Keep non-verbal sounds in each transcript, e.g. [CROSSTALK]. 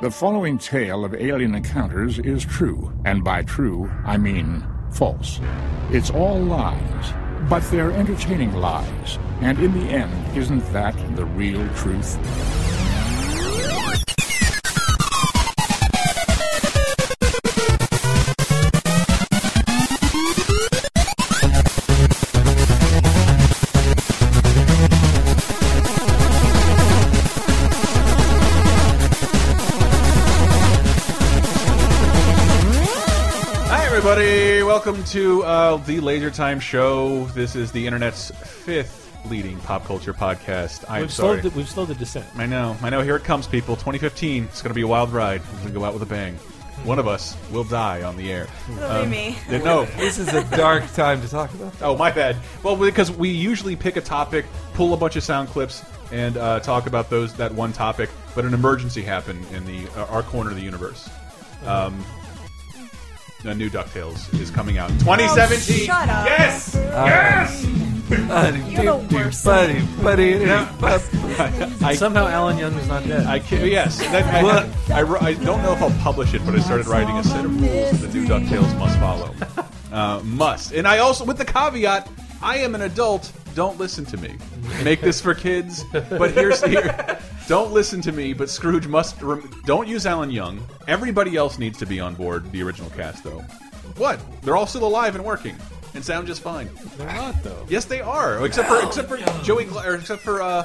The following tale of alien encounters is true, and by true, I mean false. It's all lies, but they're entertaining lies, and in the end, isn't that the real truth? Hi, everybody. Welcome to uh, the Laser Time Show. This is the internet's fifth leading pop culture podcast. I'm We've sorry. slowed, the, we've slowed the descent. I know. I know. Here it comes, people. 2015. It's going to be a wild ride. We're going to go out with a bang. One of us will die on the air. Uh, It'll be [LAUGHS] me. No. This is a dark time to talk about. Oh, my bad. Well, because we usually pick a topic, pull a bunch of sound clips, and uh, talk about those that one topic. But an emergency happened in the uh, our corner of the universe. Um, a new Ducktales is coming out in 2017. shut up. Yes. You're the worst. Buddy, buddy, [LAUGHS] I, Somehow Alan Young is not dead. I can, yes. That, I, I, I don't know if I'll publish it, but I started writing a set of rules that the new Ducktales must follow. Uh, must, and I also with the caveat: I am an adult. Don't listen to me. Make this for kids. But here's here. Don't listen to me. But Scrooge must. Rem don't use Alan Young. Everybody else needs to be on board the original cast, though. What? They're all still alive and working and sound just fine. They're not though. Yes, they are. Except for except for Joey, Gla or except for uh,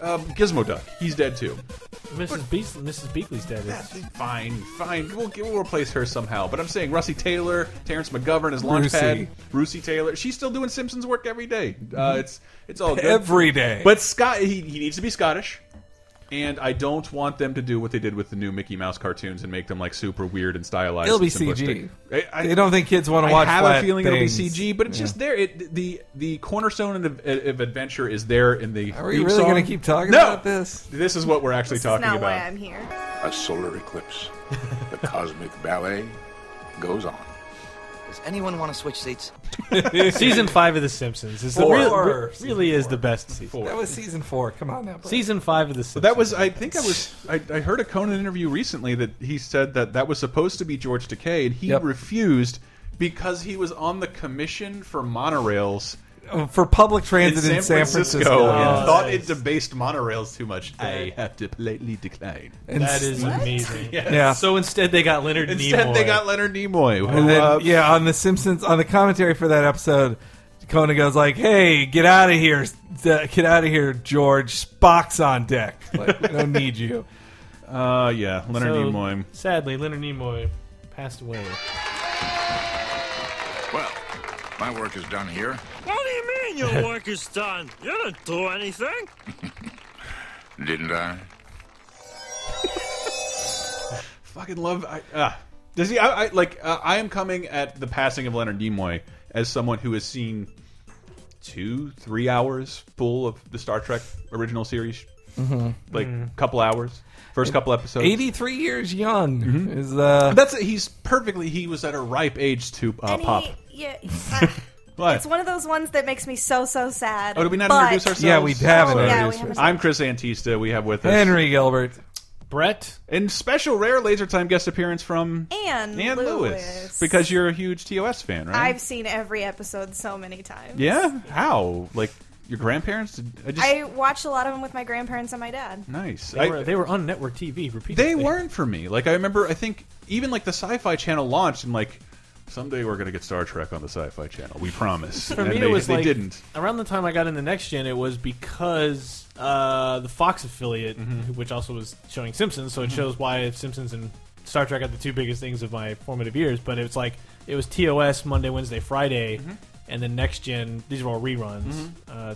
um, Gizmo Duck. He's dead too. Mrs. Beast, Mrs. Beakley's dead. Yeah, Is, Fine, fine. We'll, we'll replace her somehow. But I'm saying Russie Taylor, Terrence McGovern is Launchpad, Russie. Russie Taylor. She's still doing Simpsons work every day. Uh, it's it's all good. Mm-hmm. every day. But Scott, he, he needs to be Scottish. And I don't want them to do what they did with the new Mickey Mouse cartoons and make them like super weird and stylized. it'll be and simplistic. CG. I, I- they don't think kids want to watch. I have a flat feeling things. it'll be CG, but it's just there. It, the the cornerstone of, of adventure is there in the. Are we theme really song. going to keep talking No! about this? This is what we're actually That's talking not about. why I'm here. a solar eclipse. [LAUGHS] The cosmic ballet goes on. Does anyone want to switch seats? [LAUGHS] [LAUGHS] season five of The Simpsons is the Four. real, Four. re- really is the best season. Four. That was season four. Come on now. bro. Season five of The Simpsons. That was, I think I was, I, I heard a Conan interview recently that he said that that was supposed to be George Takei, and he Yep. refused because he was on the commission for monorails Uh, for public in transit San, Francisco, and Yeah. thought it debased monorails too much. I have to politely decline. And that is s- amazing. yeah. So instead they got Leonard Instead, Nimoy. they got Leonard Nimoy. Who, and then, uh, yeah, on the Simpsons, on the commentary for that episode, Conan goes like, "Hey, get out of here, s- uh, get out of here, George. Spock's on deck. Like, we don't need you." uh, yeah, Leonard So, Nimoy. Sadly, Leonard Nimoy passed away. Well, my work is done here. What do you mean your work is done? You didn't do anything. Didn't I? Fucking love. I, ah. does he? I, I like. Uh, I am coming at the passing of Leonard Nimoy as someone who has seen two, three hours full of the Star Trek original series, Mm-hmm. like couple hours, first couple episodes. Eighty-three years young is uh, That's he's perfectly. He was at a ripe age to uh, And he- pop. [LAUGHS] yeah, uh, What? it's one of those ones that makes me so so sad. oh, did we not but- introduce ourselves? Yeah, we haven't Oh, yeah, introduced we haven't. ourselves. I'm Chris Antista. We have with us Henry Gilbert. Brett, and special rare laser time guest appearance from [LAUGHS] Ann Ann Lewis. because you're a huge TOS fan, right? I've seen every episode so many times. yeah. How like your grandparents? Did- I just I watched a lot of them with my grandparents and my dad. nice. they, I- were, they were on network TV repeatedly. They weren't for me. Like I remember, I think even like the Sci-Fi Channel launched and like someday we're gonna get Star Trek on the Sci-Fi Channel. We promise. For and me, they, it was they like didn't. around the time I got into Next Gen. It was because uh, the Fox affiliate, Mm-hmm. which also was showing Simpsons, so it shows why Simpsons and Star Trek are the two biggest things of my formative years. But it's like it was TOS Monday, Wednesday, Friday, Mm-hmm. and then Next Gen. These are all reruns. Uh,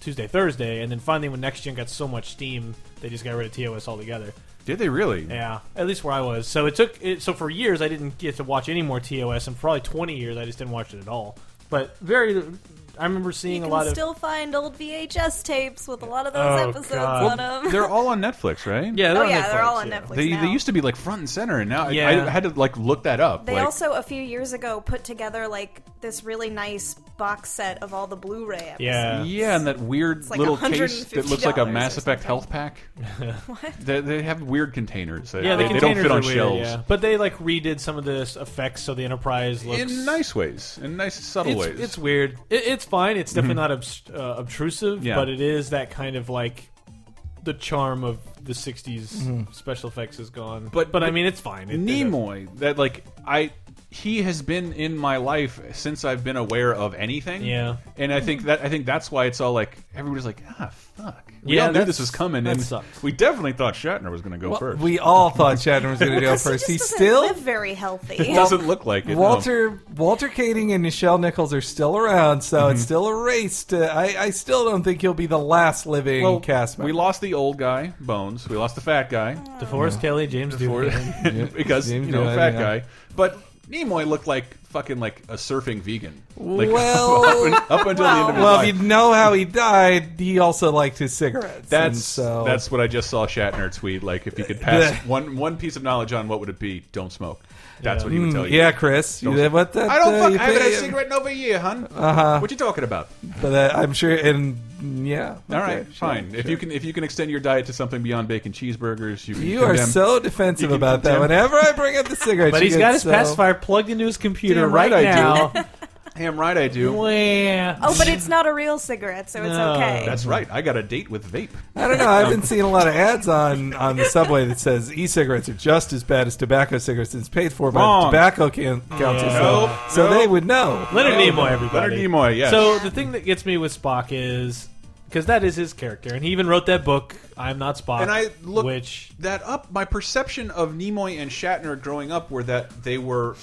Tuesday, Thursday, and then finally when Next Gen got so much steam, they just got rid of TOS altogether. Did they really? Yeah, at least where I was. So it took. It, so for years, I didn't get to watch any more TOS, and for probably twenty years, I just didn't watch it at all. But very, I remember You seeing a lot can of. still find old VHS tapes with a lot of those Oh, episodes God. on them. They're all on Netflix, right? yeah, they're oh on yeah, Netflix, they're all on yeah. Netflix They, now. they used to be like front and center, and now I- I, Yeah. had to like look that up. They like, also a few years ago put together like this really nice box set of all the Blu-ray episodes. Yeah. Yeah, and that weird like little case that looks like a $150 Mass or Effect health [LAUGHS] pack. They, they have weird containers. They, Yeah, the they, they don't containers fit are on weird, shelves. Yeah. But they like redid some of the s- effects so the Enterprise looks In nice ways, in nice subtle it's, ways. Mhm. it's weird. It, it's fine. It's definitely not obst- uh, obtrusive, Yeah. but it is that kind of like the charm of the '60s special effects is gone. Mm-hmm. But- but I but mean, it's fine. It- it Nimoy, that like I, he has been in my life since I've been aware of anything. Yeah. and I think that I think that's why it's all like everybody's like, ah, fuck. We Yeah, all knew that's- this was coming, that and sucks. we definitely thought Shatner was going to go Well, first. we all thought Shatner was going [LAUGHS] to go He first. just He's doesn't still live very healthy. [LAUGHS] [LAUGHS] it doesn't look like it. no. Walter Walter Kading and Nichelle Nichols are still around, so it's still a race. To I, I still don't think he'll be the last living Well, cast member. we lost the old guy, Bones. We lost the fat guy. doesn't- DeForest Kelly, James for- Doohan. [LAUGHS] because James you know Dolan, fat yeah. guy. But Nimoy looked like fucking like a surfing vegan. Like Well- up, un- [LAUGHS] up until the end of his well, life. if you know how he died, he also liked his cigarettes. and that's so that's what I just saw Shatner tweet. Like if you could pass one one piece of knowledge on, what would it be? Don't smoke. That's what he would tell you. Mm, yeah, Chris. You Don't- did what that? I don't uh, you fuck. I haven't had think- a cigarette in over a year, hun. Uh-huh. What you talking about? But uh, I'm sure, and yeah. All right, okay, sure, fine. If sure. you can, if you can extend your diet to something beyond bacon cheeseburgers, you can you are condemn- so defensive you can about that. condemn- Whenever I bring up the cigarette, But you he's get got his so, pacifier plugged into his computer Damn right, right I now. [LAUGHS] Damn right, I do. Wah. Oh, but it's not a real cigarette, so it's No. okay. That's right. I got a date with vape. I don't know. I've been seeing a lot of ads on, on the subway that says e-cigaretes are just as bad as tobacco cigarettes. and It's paid for by Wrong. the tobacco can- council, so, Nope, so nope. they would know. Leonard Nimoy, everybody. Leonard Nimoy, yes. So the thing that gets me with Spock is because that is his character, and he even wrote that book, "I'm Not Spock," and I look which that up. My perception of Nimoy and Shatner growing up were that they were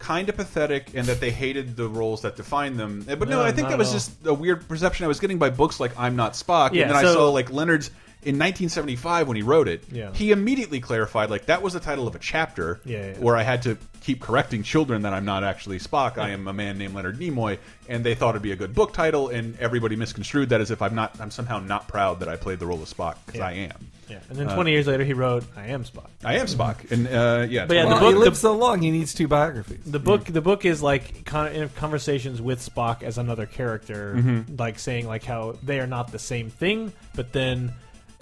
kind of pathetic and that they hated the roles that defined them. Uh, But no, No, I think not that at was all. just a weird perception I was getting by books like I'm Not Spock, Yeah, and then I so- saw like Leonard's. In 1975, when he wrote it, Yeah. he immediately clarified like that was the title of a chapter Yeah, yeah. where I had to keep correcting children that I'm not actually Spock. [LAUGHS] I am a man named Leonard Nimoy, and they thought it'd be a good book title, and everybody misconstrued that as if I'm not. I'm somehow not proud that I played the role of Spock because I am. yeah. And then Uh, 20 years later, he wrote, "I Am Spock." I am Spock, and uh, yeah, But yeah, Well, the book- he the- lived so long, he needs two biographies. The book, the book is like con- in conversations with Spock as another character, like saying like how they are not the same thing. But then,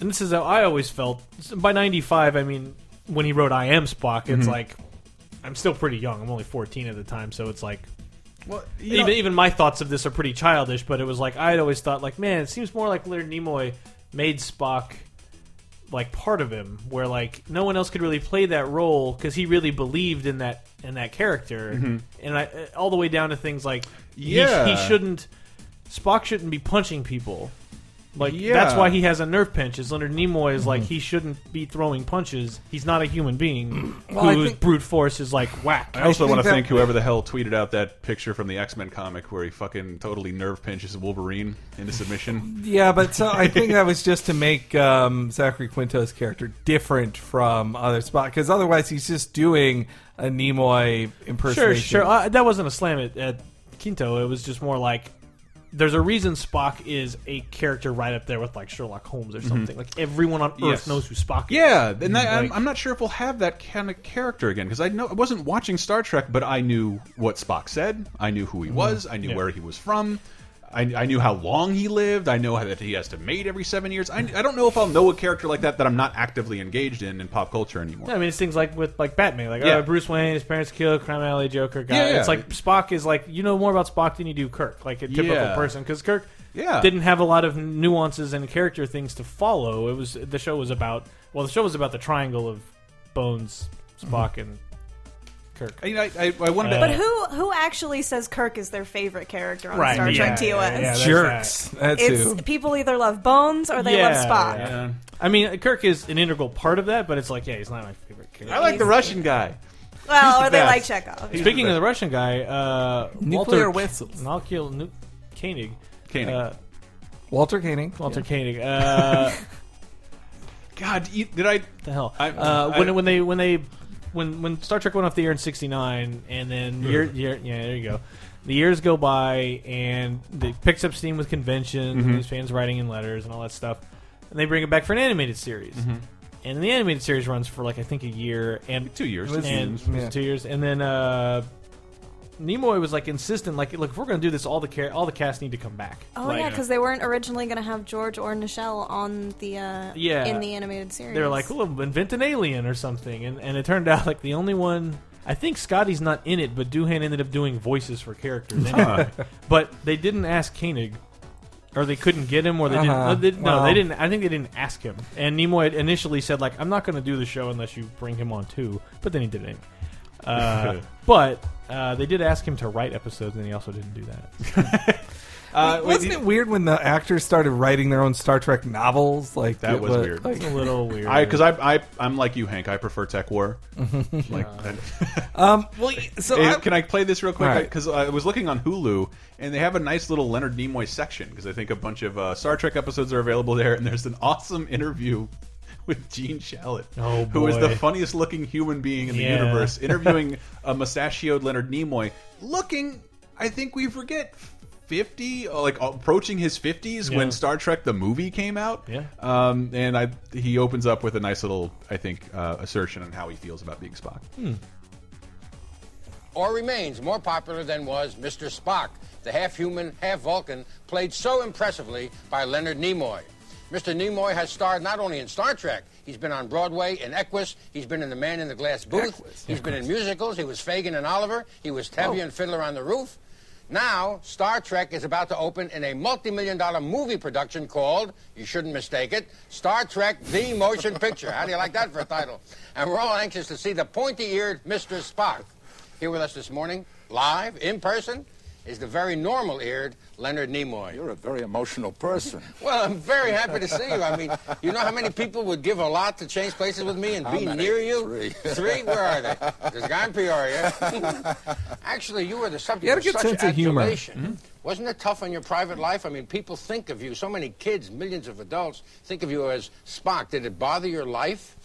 and this is how I always felt by '95. I mean, when he wrote "I Am Spock," it's like I'm still pretty young. I'm only 14 at the time, so it's like well, you even know, even my thoughts of this are pretty childish. But it was like I'd always thought like, man, it seems more like Leonard Nimoy made Spock like part of him where like no one else could really play that role because he really believed in that in that character and I, uh, all the way down to things like he- Mm-hmm. Yeah. he, shouldn't spock shouldn't be punching people like Yeah. Mm-hmm. that's why he has a nerve pinch is leonard nimoy is like he shouldn't be throwing punches he's not a human [CLEARS THROAT] being I whose think- brute force is like whack I also think want to that- thank whoever the hell tweeted out that picture from the X Men comic where he fucking totally nerve pinches Wolverine into submission. Yeah, but so I think that was just to make um, Zachary Quinto's character different from other Spock, because otherwise he's just doing a Nimoy Sure, impersonation. sure. Uh, that wasn't a slam at, at Quinto. It was just more like there's a reason Spock is a character right up there with like Sherlock Holmes or something. Like everyone on Earth Mm-hmm. Yes. knows who Spock is. Yeah, and I, I'm, Like- I'm not sure if we'll have that kind of character again because I know I wasn't watching Star Trek, but I knew what Spock said. I knew who he was. I knew Yeah. where he was from. I, I knew how long he lived. I know how, that he has to mate every seven years. I, I don't know if I'll know a character like that that I'm not actively engaged in in pop culture anymore. I mean, it's things like with like Batman, like Yeah. uh, Bruce Wayne, his parents kill, crime alley, Joker guy. Yeah, yeah. It's like Spock is like you know more about Spock than you do Kirk, like a typical Yeah. person, because Kirk Yeah. didn't have a lot of nuances and character things to follow. It was the show was about well, the show was about the triangle of Bones, Mm-hmm. Spock, and Kirk. I, I, I- I wanted to. But who who actually says Kirk is their favorite character on Right, Star yeah, Trek TOS? yeah, yeah, that's jerks. That's who. It's people either love Bones or they love Spock. yeah. I mean, Kirk is an integral part of that, but it's like, yeah, he's not my favorite character. I like the Russian guy. Well, He's the or they best. like Chekhov. Speaking the of the Russian guy, uh, Walter Nuclear whistles. Malkiel nu- Koenig. Koenig. Uh, Walter Koenig. Walter Koenig. Uh, what God, you- did I? the hell? [LAUGHS] I- uh, when I- when they when they when when Star Trek went off the air in '69, and then year, Hmm. year yeah, there you go. The years go by, and they picks up steam with conventions, Mm-hmm. and these fans writing in letters and all that stuff, and they bring it back for an animated series. Mm-hmm. And the animated series runs for like I think a year, and Two years. was- And- and was it Yeah. two years, and then uh, Nimoy was like insistent, like, look, if we're going to do this, all the care, all the cast need to come back. Oh like, yeah, because they weren't originally going to have George or Nichelle on the uh, Yeah. in the animated series. they were like, well, invent an alien or something, and and it turned out like the only one. I think Scotty's not in it, but Doohan ended up doing voices for characters. Anyway. but they didn't ask Koenig, or they couldn't get him, or they didn't. Uh-huh. no, they- no, Wow. they didn't. I think they didn't ask him. And Nimoy had initially said like, "I'm not going to do the show unless you bring him on too," but then he did it. anyway. [LAUGHS] Uh, but uh, they did ask him to write episodes, and he also didn't do that. Uh, wait, Wasn't it weird when the actors started writing their own Star Trek novels? Like That it was weird. like- It's a little weird. I because I, I I'm like you, Hank. I prefer tech [LAUGHS] war. like, that- um, well, so Hey, I, can I play this real quick? All right. Because I was looking on Hulu, and they have a nice little Leonard Nimoy section. Because I think a bunch of uh, Star Trek episodes are available there, and there's an awesome interview [LAUGHS] with Gene Shalit, Oh, who is the boy. funniest looking human being in Yeah. the [LAUGHS] universe, interviewing a mustachioed Leonard Nimoy, looking. I think we forget. 50 uh, like approaching his 50s Yeah. when Star Trek the movie came out Yeah. um, and I he opens up with a nice little I think uh, assertion on how he feels about being Spock or remains more popular than was Mr. Spock, the half human, half Vulcan, played so impressively by Leonard Nimoy. Mr. Nimoy has starred not only in Star Trek, he's been on Broadway in Equus, he's been in The Man in the Glass Booth, He's been in musicals, he was Fagin and Oliver, he was Tevye and Fiddler on the Roof. Now, Star Trek is about to open in a multi million dollar movie production called, you shouldn't mistake it, Star Trek The Motion Picture. How do you like that for a title? And we're all anxious to see the pointy eared Mr. Spock. Here with us this morning, live, in person, is the very normal eared Leonard Nimoy. You're a very emotional person. Well, I'm very happy to see you. I mean, you know how many people would give a lot to change places with me and be many? near you? Three. Three? Where are they? There's a guy in Peoria. Actually, you [LAUGHS] were the subject You had a of good such sense of humor. adulation. Wasn't it tough on your private life? I mean, people think of you. So many kids, millions of adults, think of you as Spock. Did it bother your life?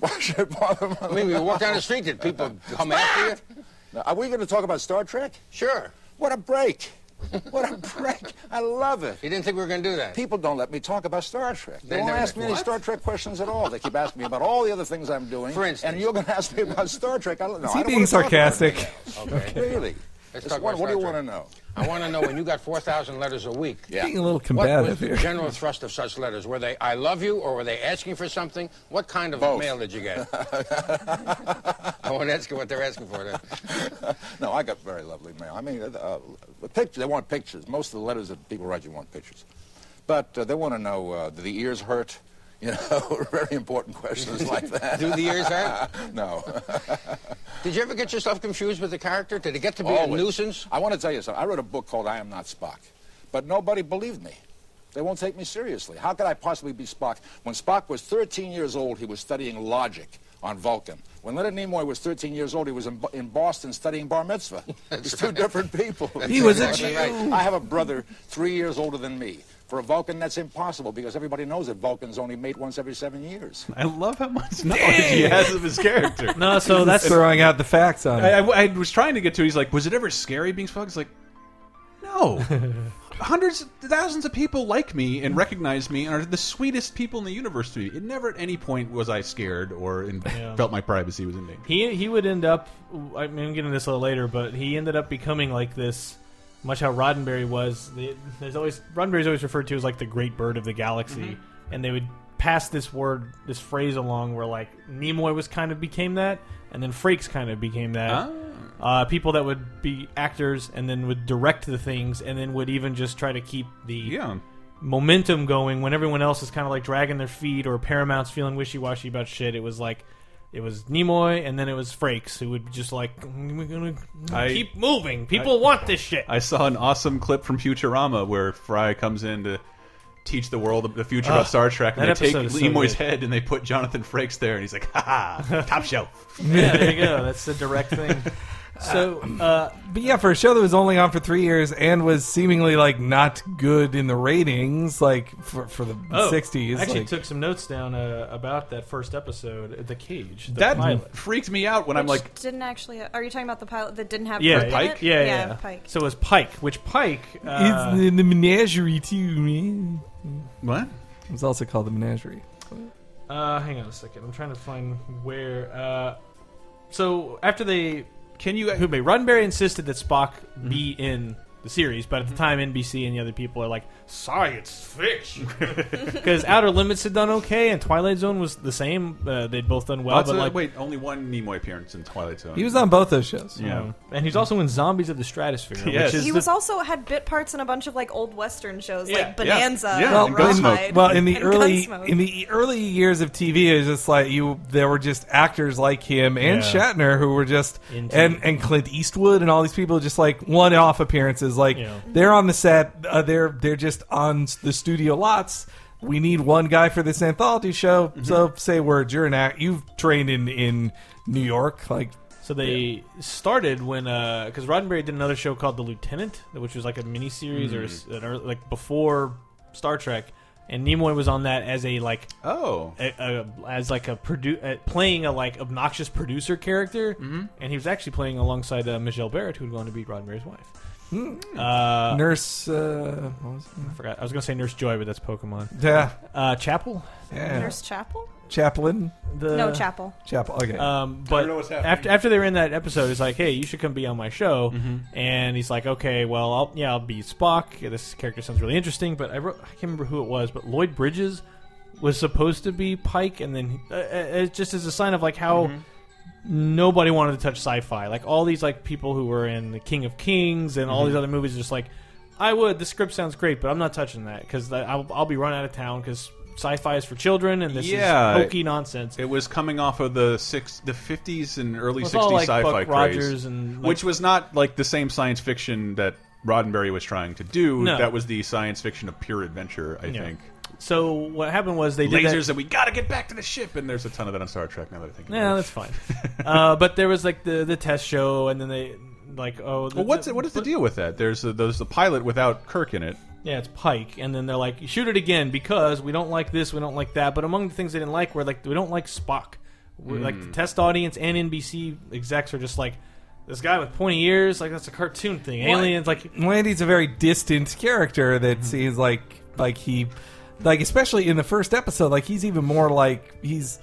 Why should it bother my I mean, you walk down the street, did people come after you? [LAUGHS] Now, Are we going to talk about Star Trek? Sure. What a break. What a break. I love it. You didn't think we were going to do that? People don't let me talk about Star Trek. They, They don't never- ask me any What? Star Trek questions at all. They keep asking me about all the other things I'm doing. For instance. And you're going to ask me about Star Trek. I don't know. is he being sarcastic? Really? Let's It's talk what, about what do you Star want to Trek. know? I want to know when you got 4,000 letters a week. Being a little What combative was the here. general thrust of such letters? Were they "I love you" or were they asking for something? What kind of Both. mail did you [LAUGHS] get? [LAUGHS] I won't ask you what they're asking for. Then. [LAUGHS] No, I got very lovely mail. I mean, uh, uh, pictures. They want pictures. Most of the letters that people write you want pictures, but uh, they want to know uh, do the ears hurt? You know, [LAUGHS] very important questions like that. Do the ears hurt? No. [LAUGHS] Did you ever get yourself confused with the character? Did it get to be Always. a nuisance? I want to tell you something. I wrote a book called I Am Not Spock, but nobody believed me. They won't take me seriously. How could I possibly be Spock? When Spock was 13 years old, he was studying logic on Vulcan. When Leonard Nimoy was 13 years old, he was in, Bo- in Boston studying bar mitzvah. [LAUGHS] It's two different people. He was a Exactly [LAUGHS] right. I have a brother three years older than me. For a Vulcan, that's impossible because everybody knows that Vulcans only mate once every seven years. I love how much knowledge he has of his character. no, so [LAUGHS] that's throwing out the facts [LAUGHS] on I, it. I- I was trying to get to. He's like, was it ever scary being Spock? It's like, [LAUGHS] no. Hundreds, of thousands of people like me and recognize me and are the sweetest people in the universe to me. It never at any point was I scared or in, felt my privacy was in danger. he he would end up. I mean, I'm getting this a little later, but he ended up becoming like this. Much how Roddenberry was. The- There's always Roddenberry's always referred to as like the great bird of the galaxy, and they would pass this word, this phrase along, where like Nimoy was kind of became that, and then Frakes kind of became that. Uh, people that would be actors and then would direct the things, and then would even just try to keep the Yeah. momentum going when everyone else is kind of like dragging their feet or Paramount's feeling wishy washy about shit. It was like it was Nimoy and then it was Frakes who would just like we're gonna I- keep moving. People want this shit. I saw an awesome clip from Futurama where Fry comes in to teach the world the future about Star Trek, and they that take episode is so Nimoy's good. head and they put Jonathan Frakes there, and he's like, "Ha [LAUGHS] ha, top shelf." [LAUGHS] yeah, there you [LAUGHS] go. That's the direct thing. [LAUGHS] So uh, But yeah, for a show that was only on for three years and was seemingly like not good in the ratings, like for, for the oh, '60s, I actually like, took some notes down uh, about that first episode, uh, the cage, the That pilot. freaked me out when I'm Which like, didn't actually. Are you talking about the pilot that didn't have Yeah, Kirk in Pike? it? Yeah, yeah, yeah, yeah. Pike. So it was Pike, which Pike uh, it's the, the menagerie too. man. "What?" It was also called the menagerie. Uh, hang on a second. I'm trying to find where. Uh, so after they Can you? Who may Roddenberry insisted that Spock be Mm-hmm. in the series, but at the time NBC and the other people are like, sorry, it's [LAUGHS] fish. Because Outer Limits had done okay, and Twilight Zone was the same. Uh, they'd both done well, Lots but of- like, wait, only one Nimoy appearance in Twilight Zone. He was on both those shows. Yeah. and he's also in Zombies of the [LAUGHS] Stratosphere, Yes. which is He the- was also had bit parts in a bunch of like old western shows, Yeah, like Bonanza. yeah. and Well, in- Rawhide well, in the and early Gunsmoke. in the early years of TV, it was just like you. There were just actors like him and Yeah. Shatner who were just Indeed. and and Clint Eastwood and all these people just like one off appearances. Like Yeah. they're on the set, uh, they're they're just on s- the studio lots. We need one guy for this anthology show. Mm-hmm. So say words. You're an act. You've trained in in New York, like. So they started when because Roddenberry did another show called The Lieutenant, which was like a mini series or s- an ear- like before Star Trek, and Nimoy was on that as a like Oh, a, a, as like a produ- uh, playing a like obnoxious producer character, and he was actually playing alongside uh, Michelle Barrett, who would go on to be Roddenberry's wife. Uh, Nurse, uh, what was it? I forgot. I was gonna say Nurse Joy, but that's Pokemon. yeah, Uh, Chapel, yeah. Nurse Chapel? Chaplain, the no, Chapel. Chapel. Okay, Um, but know what's happening. after after they were in that episode, he's like, "Hey, you should come be on my show." And he's like, "Okay, well, I'll, yeah, I'll be Spock. Yeah, This character sounds really interesting." But I wrote, I can't remember who it was, but Lloyd Bridges was supposed to be Pike, and then uh, uh, it's just as a sign of like how nobody wanted to touch sci-fi. Like all these like people who were in the King of Kings and all these other movies, just like I would. The script sounds great, but I'm not touching that because I'll, I'll be run out of town because sci-fi is for children and this Yeah. is hokey nonsense. it was coming off of the six, the fifties and early It's sixties all like sci-fi Buck craze, Rogers and like, which was not like the same science fiction that Roddenberry was trying to do. No. That was the science fiction of pure adventure, I Yeah. think. So what happened was they did Lasers that. that we gotta get back to the ship, and there's a ton of that on Star Trek now that I think. of Yeah, it. that's fine. uh, but there was like the the test show, and then they like oh. The, Well, what's the- it, what is the deal with that? There's a, there's the pilot without Kirk in it. Yeah, it's Pike, and then they're like shoot it again because we don't like this, we don't like that. But among the things they didn't like were like we don't like Spock. We're, Like Hmm. the test audience and NBC execs are just like this guy with pointy ears, like that's a cartoon thing. Aliens, like Landy's a very distant character that Mm-hmm. seems like like he like especially in the first episode like he's even more like he's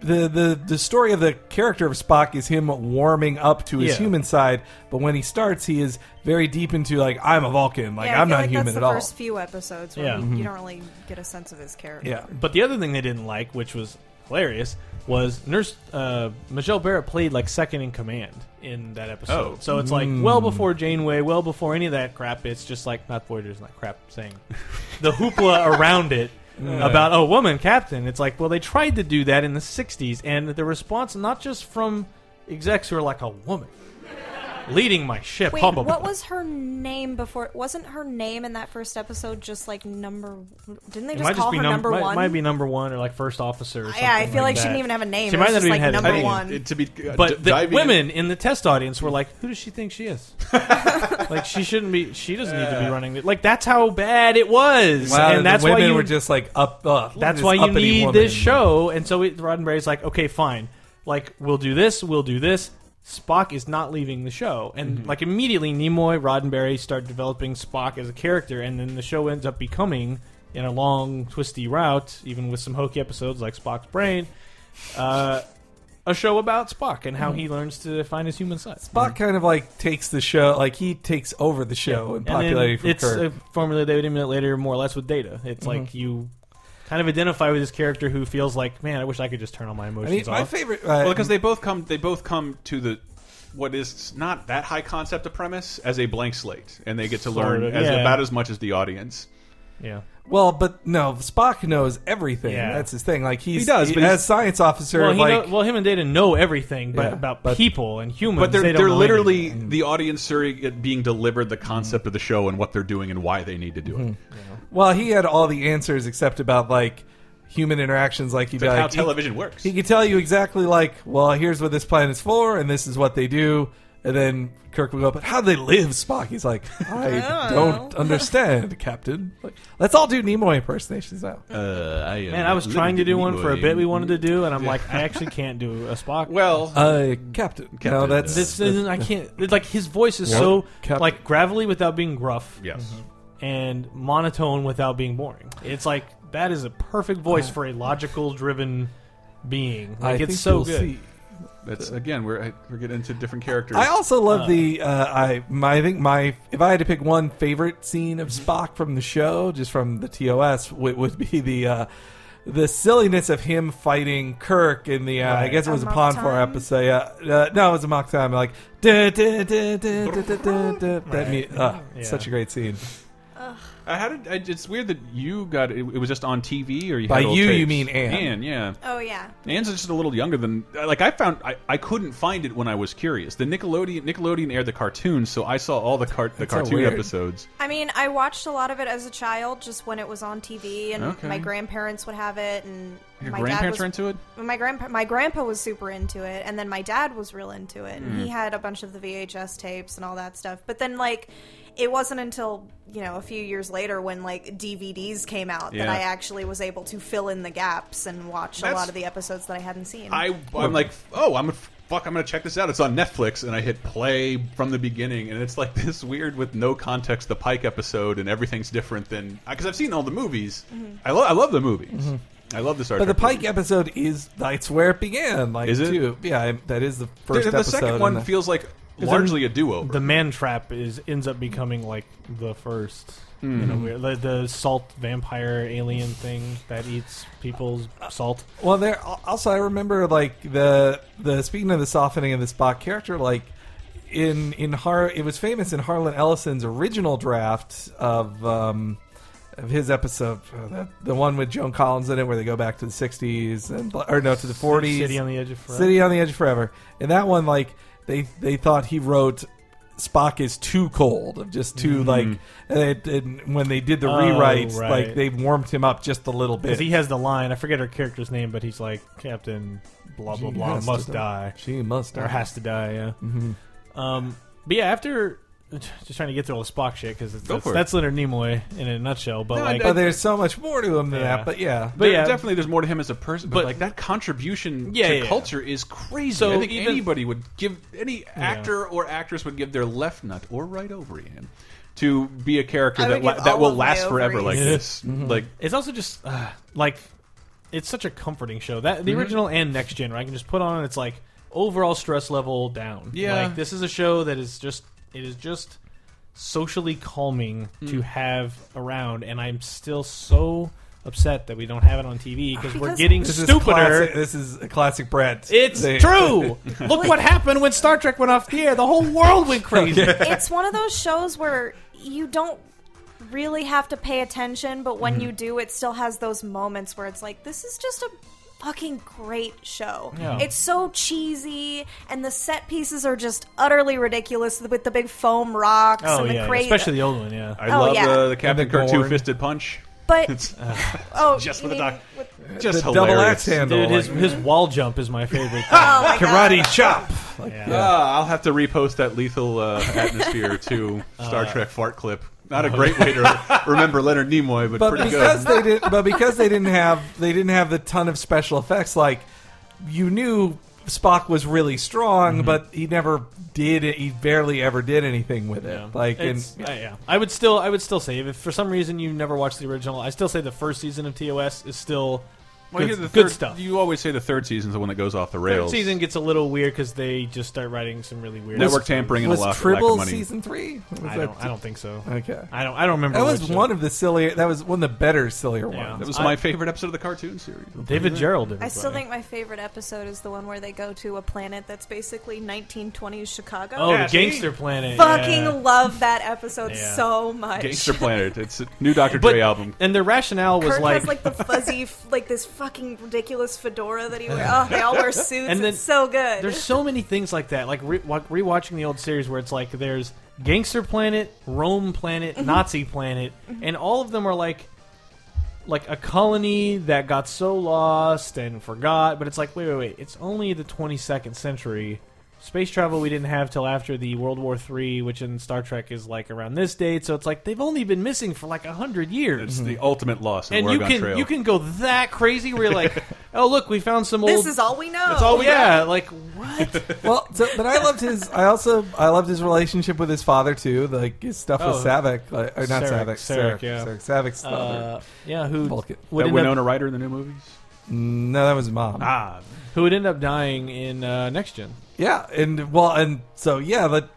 the, the the story of the character of Spock is him warming up to his Yeah. human side, but when he starts, he is very deep into like I'm a Vulcan, like yeah, I I'm feel not like human that's at the all. first few episodes where Yeah. Mm-hmm. you, you don't really get a sense of his character. yeah, But the other thing they didn't like, which was hilarious, was Nurse uh, Michelle Barrett played like second in command in that episode. Oh. So it's like well before Janeway, well before any of that crap. It's just like not Voyager's not crap saying [LAUGHS] the hoopla around it. About oh woman captain, it's like well they tried to do that in the '60s, and the response not just from execs who are like a woman leading my ship. Wait, blah, blah, what blah." was her name before? Wasn't her name in that first episode just like number? Didn't they It just might call be her num- number might, one? might be number one or like first officer. Or something yeah, I feel like, she that. didn't even have a name. She it might was not just even like had a number name. one. It- to be, uh, But d- the diving in- women in the test audience were like, "Who does she think she is? like, she shouldn't be. She doesn't need to be running. it." Like, that's how bad it was, wow, and that's the women why you were just like up. Uh, look at that's this why you uppity need woman. this show. And so it, Roddenberry's like, okay, fine. Like, we'll do this, we'll do this. Spock is not leaving the show. And, like, immediately Nimoy, Roddenberry start developing Spock as a character. And then the show ends up becoming, in a long, twisty route, even with some hokey episodes like Spock's Brain, uh, a show about Spock and how he learns to find his human side. Spock kind of like takes the show, like he takes over the show Oh, And and then popularity from Mm-hmm. it's a Kirk. formula they would emulate later, more or less with data. It's like you kind of identify with this character who feels like, man, I wish I could just turn all my I emotions mean, my off. favorite. Uh, well because they both come they both come to the what is not that high concept of premise as a blank slate and they get to Sort learn of, as, yeah. about as much as the audience yeah, Well, but no, Spock knows everything. Yeah. That's his thing. Like he's, He does, but as he's- science officer. well, he like know, well, him and Data know everything, but Yeah, about but- people and humans. but they're they they don't are know literally anything. the audience are being delivered the concept of the show and what they're doing and why they need to do Mm-hmm. it well, he had all the answers except about like human interactions. Like he'd be That's like, how he- television works He, could tell you exactly like, well, here's what this planet is for, and this is what they do. And then Kirk would go, but how do they live, Spock? He's [LAUGHS] like, I don't understand, Captain. Like, let's all do Nimoy impersonations now. uh, I, Man, I was trying to do one for a bit we wanted Mm-hmm. to do, and I'm like, I actually can't do a [LAUGHS] [LAUGHS] Spock. [LAUGHS] well Uh, Captain. No, Captain, that's this isn't, I can't. It's like his voice is so Cap- like gravelly without being gruff, yes and monotone without being boring. It's like that is a perfect voice for a logical driven being. Like Uh, I it's think so we'll good. see. That's again, we're we're getting into different characters. I also love the. Uh, I my I think my if I had to pick one favorite scene of Mm-hmm. Spock from the show, just from the TOS, would, would be the uh, the silliness of him fighting Kirk in the. Uh, I guess it was a Amok Pond Four time? episode. Yeah, uh, no, it was a mock time. Like da, da, da, da, da, da, da, [LAUGHS] da, that. mu- uh, Yeah. Such a great scene. I- how did I, it's weird that you got it, it was just on TV or you By had old you, you tapes? mean Anne. Anne, yeah. Oh yeah. Anne's just a little younger than like I found I, I couldn't find it when I was curious. The Nickelodeon Nickelodeon aired the cartoons, so I saw all the cart the so cartoon weird. episodes. I mean, I watched a lot of it as a child, just when it was on TV, and Okay. my grandparents would have it, and Your my grandparents dad are was, into it? My grandpa, my grandpa was super into it, and then my dad was real into it, and he Hmm. had a bunch of the VHS tapes and all that stuff. But then, like, it wasn't until you know a few years later when like DVDs came out that Yeah. I actually was able to fill in the gaps and watch a That's- lot of the episodes that I hadn't seen. I I'm like, oh, I'm gonna fuck, I'm gonna check this out. It's on Netflix, and I hit play from the beginning, and it's like [LAUGHS] this weird with no context, the Pike episode, and everything's different than because I've seen all the movies. I love I love the movies. I love Mm-hmm. the Star But the Trek Pike movies. episode is that's where it began. Like, Is it? too. Yeah, I, that is the first the, the episode. second and one the- feels like largely a do over. The man trap is ends up becoming like the first. In a Hmm. weird, the, the salt vampire alien thing that eats people's salt. Well, there also I remember like the the speaking of the softening of the Spock character, like in in Har it was famous in Harlan Ellison's original draft of um of his episode, uh, that, the one with Joan Collins in it, where they go back to the '60s and or no to the '40s, City on the Edge of Forever. City on the Edge of Forever, and that one like they they thought he wrote. Spock is too cold, of just too like. And, it, and when they did the Mm-hmm. Oh, rewrites, right. like they warmed him up just a little bit. Because he has the line, I forget her character's name, but he's like, Captain blah, blah, She blah, has must to die. She must Or has to die, yeah. Mm-hmm. Um, but yeah, after. [SIGHS] Just trying to get through all the Spock shit, because that's, for it. that's Leonard Nimoy in a nutshell. But No, like, But there's so much more to him than Yeah. that. But yeah, But There- yeah. definitely there's more to him as a person, but, But- like that contribution Yeah, to yeah, yeah. culture is crazy. So I think even- anybody would give any actor or actress would give their left nut or right ovary in to be a character I that would la- give that all will of my last forever like ovaries. this. Mm-hmm. Like It's also just uh, like it's such a comforting show. That Mm-hmm. the original and next gen, where I can just put on and it's like overall stress level down. Yeah. Like this is a show that is just it is just socially calming Mm. to have around and I'm still so upset that we don't have it on TV because we're Because- getting this is stupider. classic, This is a classic Brett. it's [LAUGHS] They- true. Look what happened when Star Trek went off the air. The whole world [LAUGHS] went crazy. it's one of those shows where you don't really have to pay attention, but when Mm-hmm. you do, it still has those moments where it's like, this is just a fucking great show. Yeah. It's so cheesy, and the set pieces are just utterly ridiculous with the big foam rocks Oh and yeah, the yeah, crazy. especially the old one. Yeah, I Oh, love yeah. uh, the Captain the Kirk Gorn. two fisted punch. [LAUGHS] but It's uh, [LAUGHS] oh, just you with a mean doc- with- just the double hilarious. axe handle. dude, his like, his wall jump is my favorite. oh my God. karate chop. Like, Yeah. yeah. Ah, I'll have to repost that lethal [LAUGHS] uh, atmosphere to Uh. Star Trek fart clip. Not a great way [LAUGHS] to [LAUGHS] remember Leonard Nimoy, but, But pretty because good. they did, but because they didn't have they didn't have the ton of special effects. Like you knew Spock was really strong, Mm-hmm. but he never did. it. He barely ever did anything with it. Like and It's- uh, yeah, I would still, I would still say if for some reason you never watched the original, I still say the first season of TOS is still Well, good, here's the good third- stuff. You always say the third season's the one that goes off the Third rails. season gets a little weird because they just start writing some really weird network tampering and was a lot lack of Tribble money. season three? Was I that- don't, I don't think so. Okay. I don't, I don't remember. That was which, uh, one of the sillier. That was one of the better sillier Yeah. ones. That was I- my favorite episode of the cartoon series. David Gerald. I still everybody. think my favorite episode is the one where they go to a planet that's basically 1920s Chicago. Oh, Yeah, the see? Gangster Planet. Fucking yeah. love that episode Yeah. so much. Gangster Planet. It's a new Dr. But- Dre album. And their rationale was Kurt has like the fuzzy, f- [LAUGHS] like this fucking ridiculous fedora that he wears. Oh, they all wear suits. And then it's so good. There's so many things like that, like re- wa- rewatching the old series where it's like there's Gangster Planet, Rome Planet, Mm-hmm. Nazi Planet, and all of them are like like a colony that got so lost and forgot. But it's like wait, wait, wait. It's only the 22nd century. Space travel we didn't have till after the World War III, which in Star Trek is like around this date. So it's like they've only been missing for like a hundred years. It's the ultimate loss of Mm-hmm. and you Oregon can Trail. you can go that crazy where [LAUGHS] you're like, oh look, we found some this old. is all we know. that's all we yeah, like what? well, so, but I loved his. I also I loved his relationship with his father too. Like his stuff Oh. with Savick, like, or not Sarek, Savick, Sarek, Sarek, yeah. Sarek, Savick's father. Uh, yeah, who Vulcan. would that end up- Winona Ryder in the new movies. No, that was mom. Ah, who would end up dying in uh, Next Gen. Yeah, and well, and so yeah, but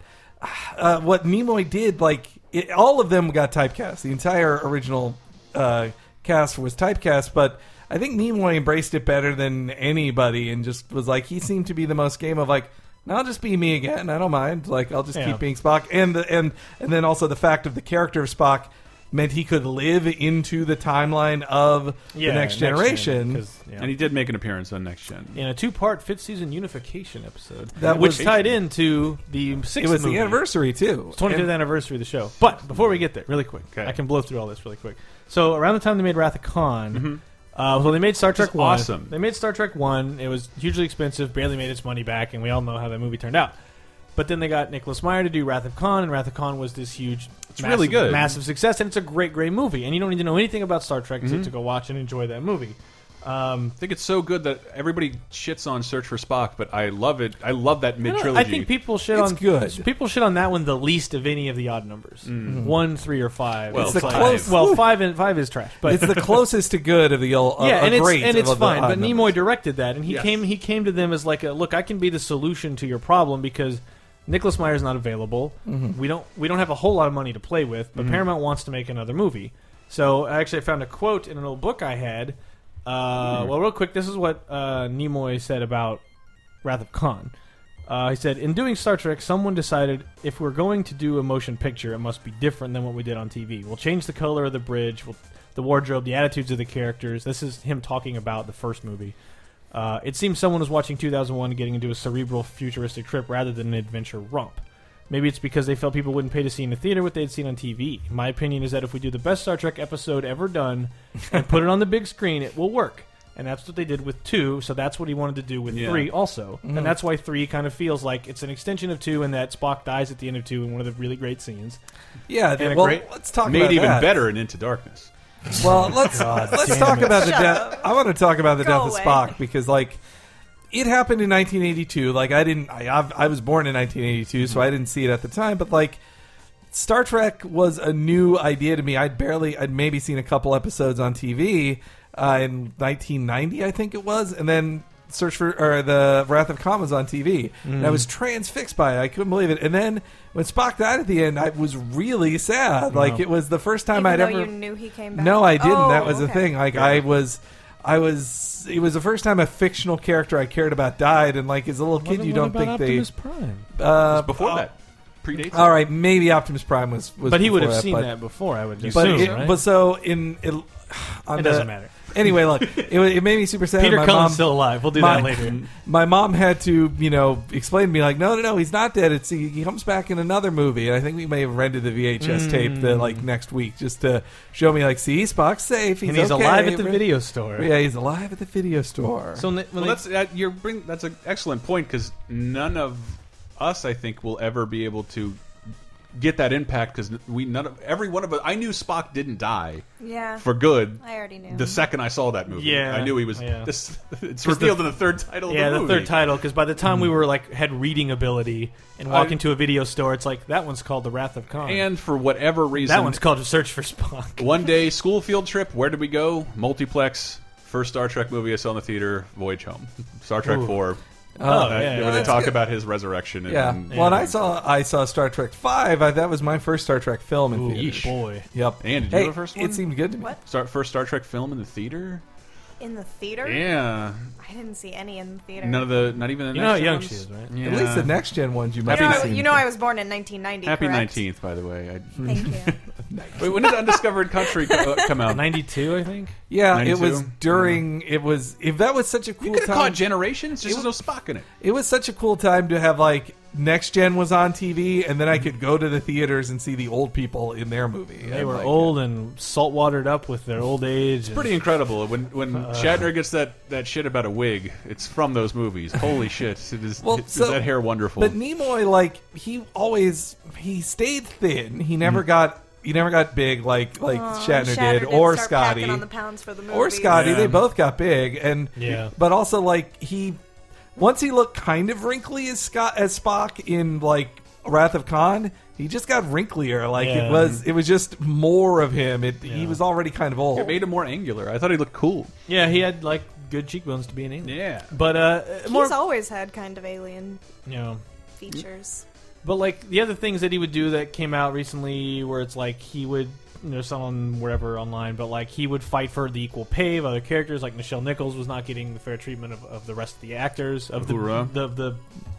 uh, what Nimoy did, like it, all of them got typecast. The entire original uh, cast was typecast, but I think Nimoy embraced it better than anybody, and just was like he seemed to be the most game of like. No, I'll just be me again. I don't mind. Like I'll just Yeah. keep being Spock, and the, and and then also the fact of the character of Spock meant he could live into the timeline of the next Gen, generation. 'cause, yeah. And he did make an appearance on Next Gen. in a two-part fifth-season unification episode, That which was- tied into the sixth. it was movie. the anniversary too. 25th anniversary of the show. But before we get there, really quick, Okay. I can blow through all this really quick. So around the time they made Wrath of Khan, uh, well, they made Star Trek Mm-hmm. is One. awesome. They made Star Trek One. It was hugely expensive, barely made its money back, and we all know how that movie turned out. But then they got Nicholas Meyer to do Wrath of Khan, and Wrath of Khan was this huge, it's really good. massive success, and it's a great, great movie. And you don't need to know anything about Star Trek Mm-hmm. to, to go watch and enjoy that movie. Um, I think it's so good that everybody shits on Search for Spock, but I love it. I love that mid I don't- trilogy. I think people shit It's on good. Mm-hmm. People shit on that one the least of any of the odd numbers. One, three, or five. Mm. Well, It's the like- close- Well, five and five is trash, but it's the closest to good of the old. Uh, [LAUGHS] yeah, uh, and it's great and of it's the fine. odd But numbers. Nimoy directed that, and he Yes. came he came to them as like a look. I can be the solution to your problem because Nicholas Meyer's not available. Mm-hmm. We don't we don't have a whole lot of money to play with, Mm-hmm. but Paramount wants to make another movie. So I actually found a quote in an old book I had. Uh, Mm-hmm. Well, real quick, this is what uh, Nimoy said about Wrath of Khan. Uh, he said, "In doing Star Trek, someone decided if we're going to do a motion picture, it must be different than what we did on TV. We'll change the color of the bridge, we'll, the wardrobe, the attitudes of the characters. This is him talking about the first movie. Uh, it seems someone was watching 2001 and getting into a cerebral futuristic trip rather than an adventure romp. Maybe it's because they felt people wouldn't pay to see in the theater what they had seen on TV. My opinion is that if we do the best Star Trek episode ever done and put it on the big screen, it will work. And that's what they did with two, so that's what he wanted to do with Yeah. three also. Mm-hmm. And that's why three kind of feels like it's an extension of two, and that Spock dies at the end of two in one of the really great scenes. yeah. and a well, great- let's talk made about even that. better in Into Darkness. Well, let's let's talk about the Shut death. I want to talk about the Go death away. of Spock because like it happened in 1982. Like I didn't. I I've, I was born in 1982, so I didn't see it at the time. But like Star Trek was a new idea to me. I'd barely. I'd maybe seen a couple episodes on TV uh, in 1990, I think it was, and then. Search for or the Wrath of Khan was on TV, and I was transfixed by it. I couldn't believe it. And then when Spock died at the end, I was really sad. Like it was the first time Even I'd though ever you knew he came back. no, I didn't. Oh, that was the okay. thing. Like I was, I was. It was the first time a fictional character I cared about died, and like as a little kid, you don't think they. Prime? Uh, Before oh, that, predates. all right, maybe Optimus Prime was. was But he would before have seen but- that before, I would assume, But, it, right? but so in it, on it the- doesn't matter. Anyway, look, it, wa- it made me super sad. Peter my Cullen's mom, still alive. We'll do my, that [LAUGHS] later. My mom had to, you know, explain to me like, no, no, no, he's not dead. It's he, he comes back in another movie, and I think we may have rented the VHS tape the like next week just to show me like, see, Spock's safe. He's Mm. and he's okay. alive at the Re- video store. Yeah, he's alive at the video store. So when Well, that's that, you're bring. That's an excellent point because none of us, I think, will ever be able to get that impact because we none of every one of us. I knew Spock didn't die Yeah. for good. I already knew. The second I saw that movie, Yeah, I knew he was. yeah. This, [LAUGHS] it's revealed in the third title. yeah, of the, the, movie. third title. Because by the time we were like had reading ability and walk I- into a video store, it's like that one's called The Wrath of Khan. And for whatever reason, that one's called A Search for Spock. One day, school field trip. Where did we go? Multiplex. First Star Trek movie I saw in the theater. Voyage home. [LAUGHS] Star Trek Ooh. Four. Oh, uh, yeah, where they that's talk good. about his resurrection. And, yeah. and, Well, and I saw I saw Star Trek Five. I, that was my first Star Trek film in Ooh, theaters. boy. Yep. And did you hey, know the first one? It seemed good to me. What? Star, first Star Trek film in the theater. in the theater? Yeah. I didn't see any in the theater. None of the. Not even the. You know next how young ones? she is, right? Yeah. At least the next gen ones you You might know, have I, seen. you know I was born in 1990. Happy correct? nineteenth, by the way. I, Thank [LAUGHS] you. wait, when did Undiscovered Country co- uh, come [LAUGHS] out? Ninety two, I think. yeah, 92? it was during. It was if that was such a You cool could have called time. Generations. Just there's no Spock in it. it was such a cool time to have like next gen was on TV, and then I could go to the theaters and see the old people in their movie. They were old and salt watered up with their old age. and- Pretty incredible. When when Uh, Shatner gets that, that shit about a wig, it's from those movies. Holy shit! It is, Well, is so- that hair wonderful? But Nimoy, like he always, he stayed thin. He never got, he never got big like like Shatner, Shatner did or start Scotty. packing on the pounds for the movies. or Scotty. Yeah. They both got big, and Yeah. But also, like he, once he looked kind of wrinkly as Scott as Spock in like Wrath of Khan, he just got wrinklier. Like Yeah. it was, it was just more of him. It, Yeah. He was already kind of It old. made him more angular. I thought he looked cool. Yeah, he had like good cheekbones to be an alien. Yeah. But uh, more, He's always had kind of alien you know, features. But like the other things that he would do that came out recently, where it's like he would, you know, someone wherever online, but like he would fight for the equal pay of other characters. Like Michelle Nichols was not getting the fair treatment of, of the rest of the actors of the, Uhura. the the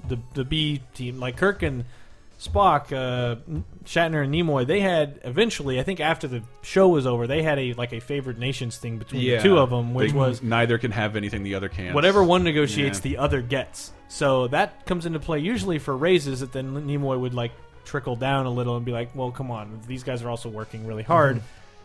the the B team. Like Kirk and Spock, uh, Shatner and Nimoy, they had eventually, I think after the show was over, they had a like a favored nations thing between the two of them, which They- was neither can have anything the other can. Whatever one negotiates, Yeah. the other gets. So that comes into play usually for raises that then Nimoy would like trickle down a little and be like, "Well, come on, these guys are also working really hard."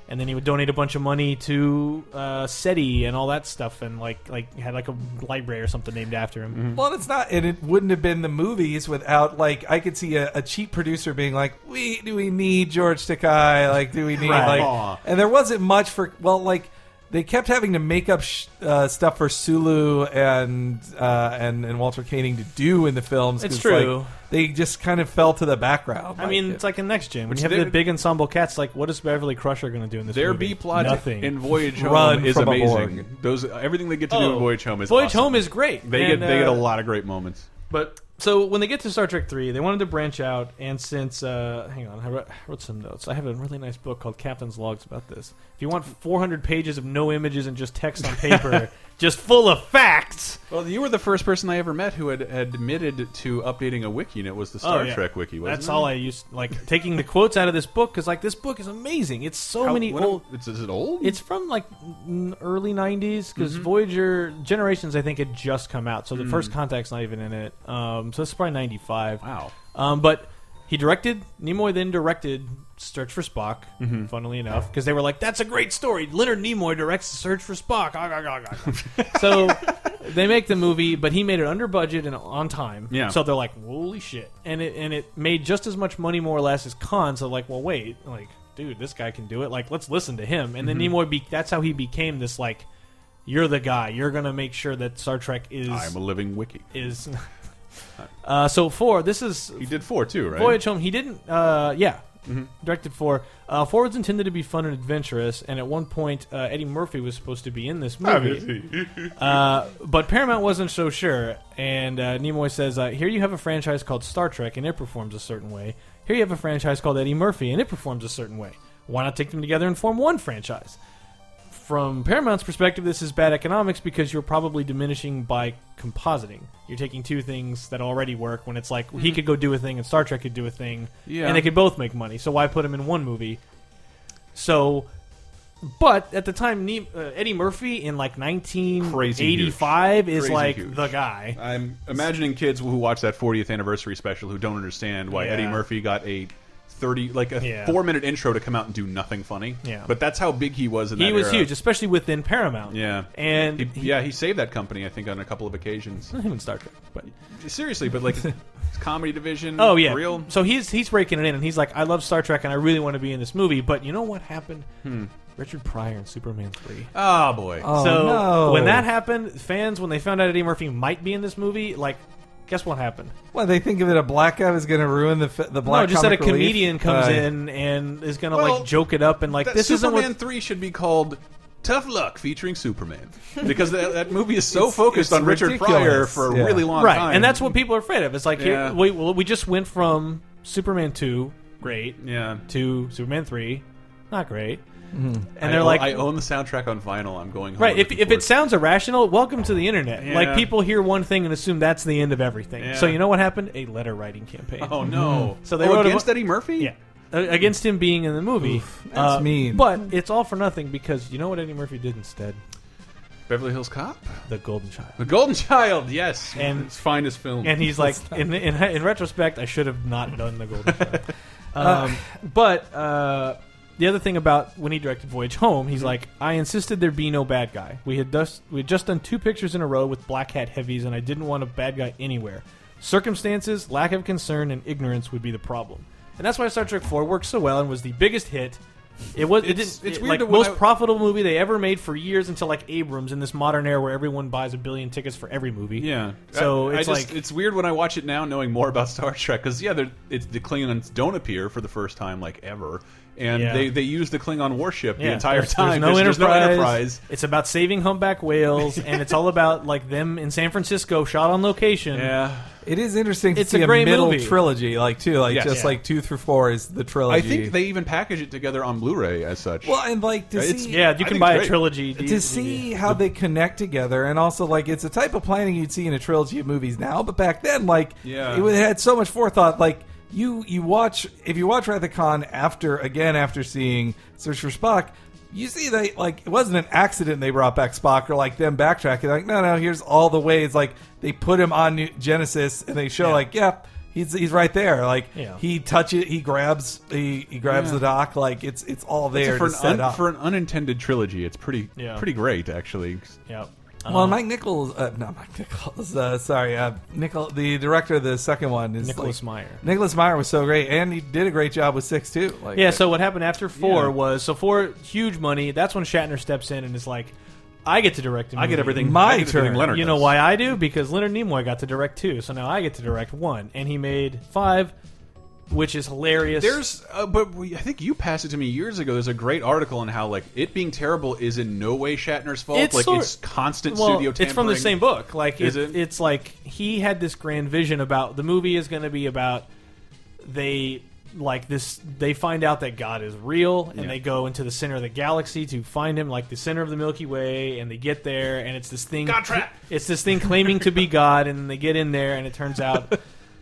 And then he would donate a bunch of money to uh, SETI and all that stuff, and like like had like a library or something named after him. Well, it's not, and it wouldn't have been the movies without like I could see a, a cheap producer being like, "We do we need George Takei? Like, do we need Right. Aw. like?" And there wasn't much for well, like they kept having to make up sh- uh, stuff for Sulu and uh, and and Walter Koenig to do in the films. It's 'cause, true. like, they just kind of fell to the background. I mean, it- it's like in next gen when Which you have they're- the big ensemble cats. Like, what is Beverly Crusher going to do in this? Their movie? B plot nothing. in Voyage Run Home is from a amazing. Borg. Those everything they get to do in Voyage Home is Oh, Voyage awesome. Home is great. They And, get they get a uh, lot of great moments. But so when they get to Star Trek three, they wanted to branch out, and since uh, hang on, I wrote, I wrote some notes. I have a really nice book called Captain's Logs about this. If you want 400 pages of no images and just text on [LAUGHS] paper, just full of facts. Well, you were the first person I ever met who had admitted to updating a wiki, and it was the Star Trek wiki. Wasn't Oh, That's it? all I used. Like taking the quotes out of this book because like this book is amazing. It's so How- many when- old. It's, is it old? It's from like n- early '90s because Voyager Generations, I think, had just come out. So the first contact's not even in it. Um, so it's probably '95. Wow. Um, but he directed Nimoy. Then directed Search for Spock. Mm-hmm. Funnily enough, because they were like, "That's a great story." Leonard Nimoy directs Search for Spock. Ah, ah, ah, [LAUGHS] ah, ah. so they make the movie, but he made it under budget and on time. Yeah. So they're like, "Holy shit!" And it and it made just as much money, more or less, as Khan. So like, well, wait, like, dude, this guy can do it. Like, let's listen to him. And Mm-hmm. then Nimoy, be- that's how he became this like. You're the guy. You're gonna make sure that Star Trek is I'm a living wiki. is. [LAUGHS] [LAUGHS] uh, so four. This is You did four too, right? Voyage Home. He didn't. Uh, yeah, directed for. Uh, four was intended to be fun and adventurous, and at one point, uh, Eddie Murphy was supposed to be in this movie. uh, but Paramount wasn't so sure, and uh, Nimoy says, uh, "Here you have a franchise called Star Trek, and it performs a certain way. Here you have a franchise called Eddie Murphy, and it performs a certain way. Why not take them together and form one franchise?" from Paramount's perspective, this is bad economics because you're probably diminishing by compositing. You're taking two things that already work when it's like he could go do a thing and Star Trek could do a thing, Yeah. and they could both make money. So why put them in one movie? So, but at the time, Ne- uh, Eddie Murphy in like 1985 is Crazy like huge. the guy. I'm imagining kids who watch that 40th anniversary special who don't understand why Yeah. Eddie Murphy got a 30 like a Yeah. 4 minute intro to come out and do nothing funny. Yeah. But that's how big he was in that He was era. huge, especially within Paramount. Yeah. and He- yeah, he saved that company I think on a couple of occasions. him in Star Trek, but Seriously, [LAUGHS] but like his comedy division Oh yeah, real So he's he's breaking it in, and he's like, "I love Star Trek, and I really want to be in this movie." But you know what happened? Richard Pryor in Superman three. Hmm. Oh boy. oh, so no. when that happened, fans when they found out Eddie Murphy might be in this movie, like, guess what happened? well, they think of it a black guy is going to ruin the fi- the black. no, just that a comic relief. comedian comes Uh, in and is gonna Well, like joke it up and like that this Superman isn't what. 3 should be called Tough Luck featuring [LAUGHS] Superman because that, that movie is so focused it's on Richard ridiculous. Pryor for a Yeah. really long right, time. and that's what people are afraid of. It's like Yeah. here, we well, we just went from Superman two, great, yeah. to Superman three, not great, Mm-hmm. and I they're own- like, I own the soundtrack on vinyl. I'm going home Right. If, looking if for it sounds irrational, welcome to the internet. Yeah. Like people hear one thing and assume that's the end of everything. Yeah. So you know what happened? A letter writing campaign. Oh no! So they oh, wrote a against bu- Eddie Murphy. Yeah. Uh, Against him being in the movie. Uh, that's mean. But it's all for nothing because you know what Eddie Murphy did instead? Beverly Hills Cop, The Golden Child. The Golden Child. Yes, And- its finest film. And [LAUGHS] he's like, in, in, in retrospect, I should have not done The Golden [LAUGHS] Child. Um, but uh, the other thing about when he directed Voyage Home, Mm-hmm. he's like, I insisted there be no bad guy. We had just we had just done two pictures in a row with black hat heavies, and I didn't want a bad guy anywhere. Circumstances, lack of concern, and ignorance would be the problem, and that's why Star Trek Four worked so well and was the biggest hit. It was. It It's- didn't, it's it- weird like that when most I- profitable movie they ever made for years until like Abrams in this modern era where everyone buys a billion tickets for every movie. yeah. So I, I it's just, like it's weird when I watch it now, knowing more about Star Trek. Because yeah, they're- it's the Klingons don't appear for the first time like ever, and Yeah. they they use the Klingon warship the Yeah, entire there's- time. There's no, there's enterprise. enterprise. It's about saving [LAUGHS] humpback whales, and it's all about like them in San Francisco, shot on location. Yeah, It is interesting to It's see a a, great middle movie. trilogy, like too, like Yes. just Yeah. like two through four is the trilogy. I think they even package it together on Blu-ray as such. well, and like to It's- see, Yeah, I you think can buy great. a trilogy to see how they connect together, and also like it's a type of planning you'd see in a trilogy of movies now, but back then, like Yeah. it had so much forethought. Like you, you watch if you watch Wrath of Khan after again after seeing Search for Spock. You see, they like it wasn't an accident they brought back Spock or like them backtracking. Like, no, no, here's all the ways. Like they put him on New- Genesis, and they show like, yep, he's he's right there. Like Yeah. he touches, he grabs, he, he grabs the dock. Like it's it's all there for to an, set un- up. for an unintended trilogy, it's pretty Yeah. pretty great actually. Yeah. Well, Um, Mike Nichols, uh, not Mike Nichols. Uh, sorry, uh, Nichol, the director of the second one is Nicholas like- Meyer. Nicholas Meyer was so great, and he did a great job with six too. Like, Yeah, so what happened after four Yeah. was so four huge money. That's when Shatner steps in and is like, "I get to direct. A movie. I get everything. My I get everything turn. Leonard You know does. why I do? Because Leonard Nimoy got to direct two, so now I get to direct one, and he made five, which is hilarious. There's, uh, but we, I think you passed it to me years ago. There's a great article on how like it being terrible is in no way Shatner's fault. like sort- it's constant well, studio. Tampering. It's from the same book. Like Is it- it? it's like he had this grand vision about the movie is going to be about they like this they find out that God is real and Yeah. they go into the center of the galaxy to find him like the center of the Milky Way and they get there and it's this thing God trap! it's this thing claiming to be God and then they get in there and it [LAUGHS] turns out